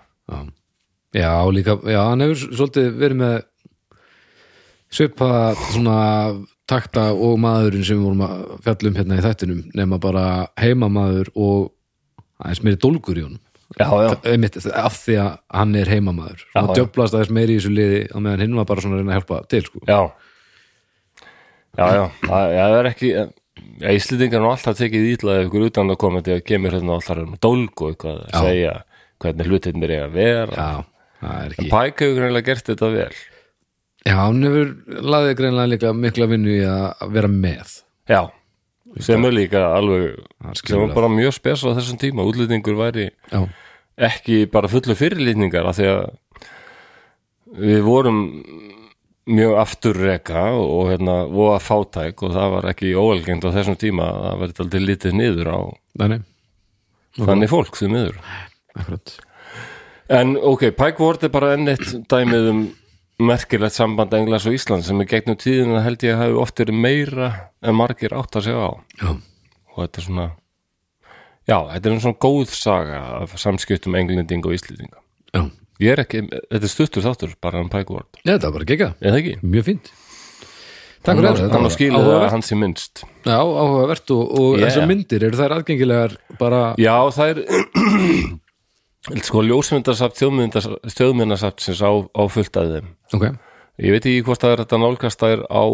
S2: Já, já líka, já, hann hefur s- svolítið verið með svipa svona takta og maðurinn sem við vorum að fjallum hérna í þættinum nema bara heimamaður og aðeins meiri dólgur í honum
S1: Já, já,
S2: einmitt af því að hann er heimamaður
S1: Já,
S2: og
S1: já.
S2: djöflast aðeins meiri í þessu liði á meðan hinn var bara svona að reyna að hjálpa til sko.
S1: já Já, já, það það er ekki Já, Íslendingar nú alltaf tekið ítlaði ykkur utan að koma til að kemur hérna alltaf um dólg og eitthvað að segja hvernig hlutirnir er að vera
S2: Já, það er ekki
S1: Pæk hefur greinlega gert þetta vel
S2: Já, hann hefur laðið greinlega líka mikla vinnu í að að vera með
S1: Já, sem er líka alveg
S2: Það skilur
S1: sem var
S2: það.
S1: bara mjög spes á þessum tíma útlýtingur væri
S2: Já,
S1: ekki bara fullu fyrirlýtningar af því að við vorum mjög afturreka og hérna voða fátæk og það var ekki óalgengt á þessum tíma að það verið aldrei lítið niður á
S2: þannig,
S1: þannig fólk því miður
S2: akkurat
S1: en ok, Pike Ward er bara enn eitt dæmið um merkilegt samband Englands og Ísland sem er gegnum tíðina held ég að hafi oft verið meira en margir átt að segja á
S2: Já,
S1: og þetta er svona já, þetta er svona góð saga af samskiptum englending og íslendinga
S2: já,
S1: ég er ekki, þetta er stuttur þáttur bara um Pike Ward,
S2: Já, það var bara gegga
S1: er það ekki?
S2: Mjög fínt Takk
S1: Hann
S2: fyrir
S1: á-
S2: þetta
S1: hann á
S2: var
S1: skilið að
S2: áhugavert.
S1: hann sé minnst
S2: Já, áhugavert og, og
S1: Yeah.
S2: þessar myndir eru þær aðgengilegar bara
S1: já, það er sko ljósmyndasapt þjóðmyndasaptsins á, á fullt að þeim
S2: Ok,
S1: Ég veit ekki hvort það er þetta nálgast það er á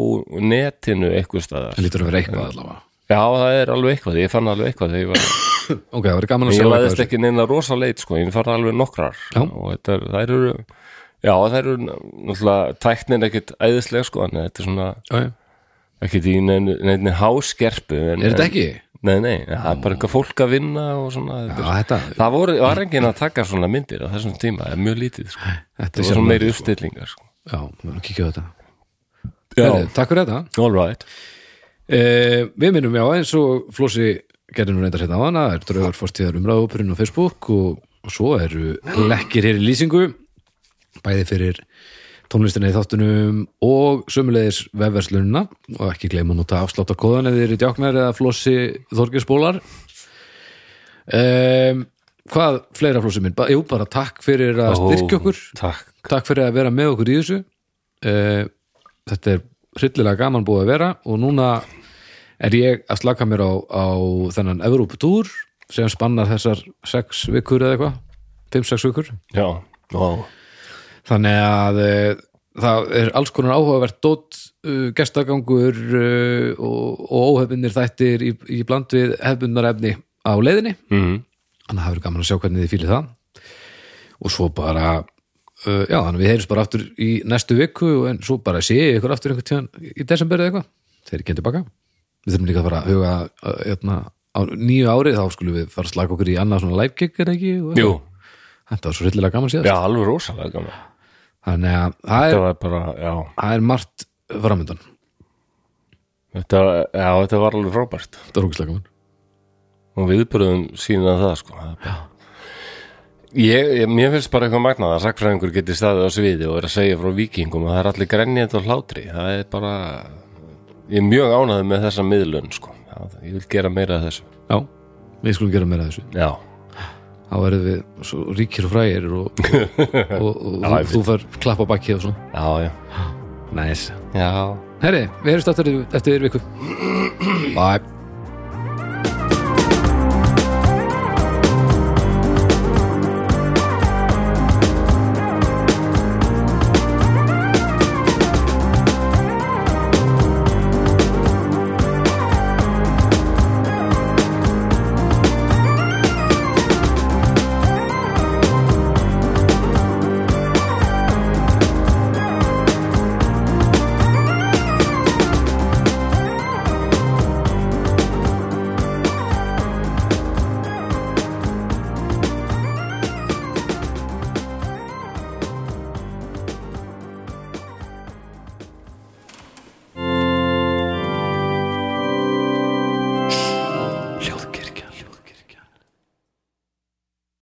S1: netinu eitthvað staðar.
S2: það lítur að vera eitthvað allavega
S1: Já, það er alveg eitthvað, ég fann alveg eitthvað þegar ég var
S2: ok, það verður gaman að
S1: Ég
S2: sjá
S1: laðist
S2: eitthvað
S1: ekki neina rosa leit sko, ég farið alveg nokkrar
S2: Já.
S1: og þetta er, þær eru já, þær eru náttúrulega tæknin ekkit æðislega sko, en þetta er svona
S2: þessu. Já, já.
S1: ekkit í neinu, neinu háskerpu en,
S2: er þetta ekki?
S1: Nei, nei, það er bara eitthvað fólk að vinna og svona
S2: Já,
S1: þetta er,
S2: þetta,
S1: Það voru, var enginn að taka svona myndir á þessum tíma, það er mjög lítið sko. Það
S2: þetta er
S1: var svona
S2: sérna
S1: meiri uppstillingar sko.
S2: já, við verðum að kíkja á þetta
S1: Já,
S2: Heyrðu, takk fyrir þetta
S1: all right
S2: Eh, við minnum já eins og Flósi gerði nú reyndar hérna á hana, er draugur fórstíðar umræðupurinn á Facebook og, og svo eru lekkir hér í lýsingu bæði fyrir tónlistina í þáttunum og sömulegis vefverslunina og ekki gleyma að nota afsláttakóðan eða þeir eru djáknar eða Flósi Þorgesbólar um, hvað fleira Flósi minn? Ba jú, bara takk fyrir að styrkja okkur
S1: Takk,
S2: takk fyrir að vera með okkur í þessu Eh, þetta er hryllilega gaman búið að vera og núna er ég að slaka mér á, á þennan Evróputúr sem spannar þessar sex vikur eða eitthvað, 5-6 vikur
S1: já, já.
S2: þannig að eh, það er alls konar áhugavert dót uh, gestagangur uh, og, og óhefnir þættir í, í bland við hefnunnar efni á leiðinni
S1: Mm.
S2: þannig að það verður gaman að sjá hvernig þið fýlir það og svo bara uh, já, þannig að við heyrjum bara aftur í næstu viku en svo bara sé ég ykkur aftur einhvern tíðan í desember eða eitthvað, þegar ég kemur tilbaka við þurfum líka að fara að huga uh, hérna, á nýju árið þá skulum við fara að slaka okkur í annað svona live gig er ekki og-
S1: Jú,
S2: þetta var svo hryllilega gaman síðast
S1: já, alveg rosalega gaman
S2: þannig að það
S1: Þetta
S2: er,
S1: var bara, já
S2: það er margt framöndan,
S1: Þetta, já, þetta var alveg frábært
S2: þetta er ógislega gaman
S1: og viðbröðum sína það sko Það er bara- ég, ég, mér finnst bara eitthvað magnað að sakfræðingur geti staðið á sviði og er að segja frá vikingum og það er allir grenjandi og hlátri það er bara ég er mjög ánæðið með þessa miðlun sko það, ég vil gera meira af þessu
S2: já, við skulum gera meira af þessu
S1: já,
S2: þá verðum við svo ríkir og frægir og, og, og, og,
S1: Já, ég
S2: þú fær klappa bakki og svona
S1: já, já,
S2: næs nice.
S1: já.
S2: Herri, við heyrjumst aftur eftir viku Bye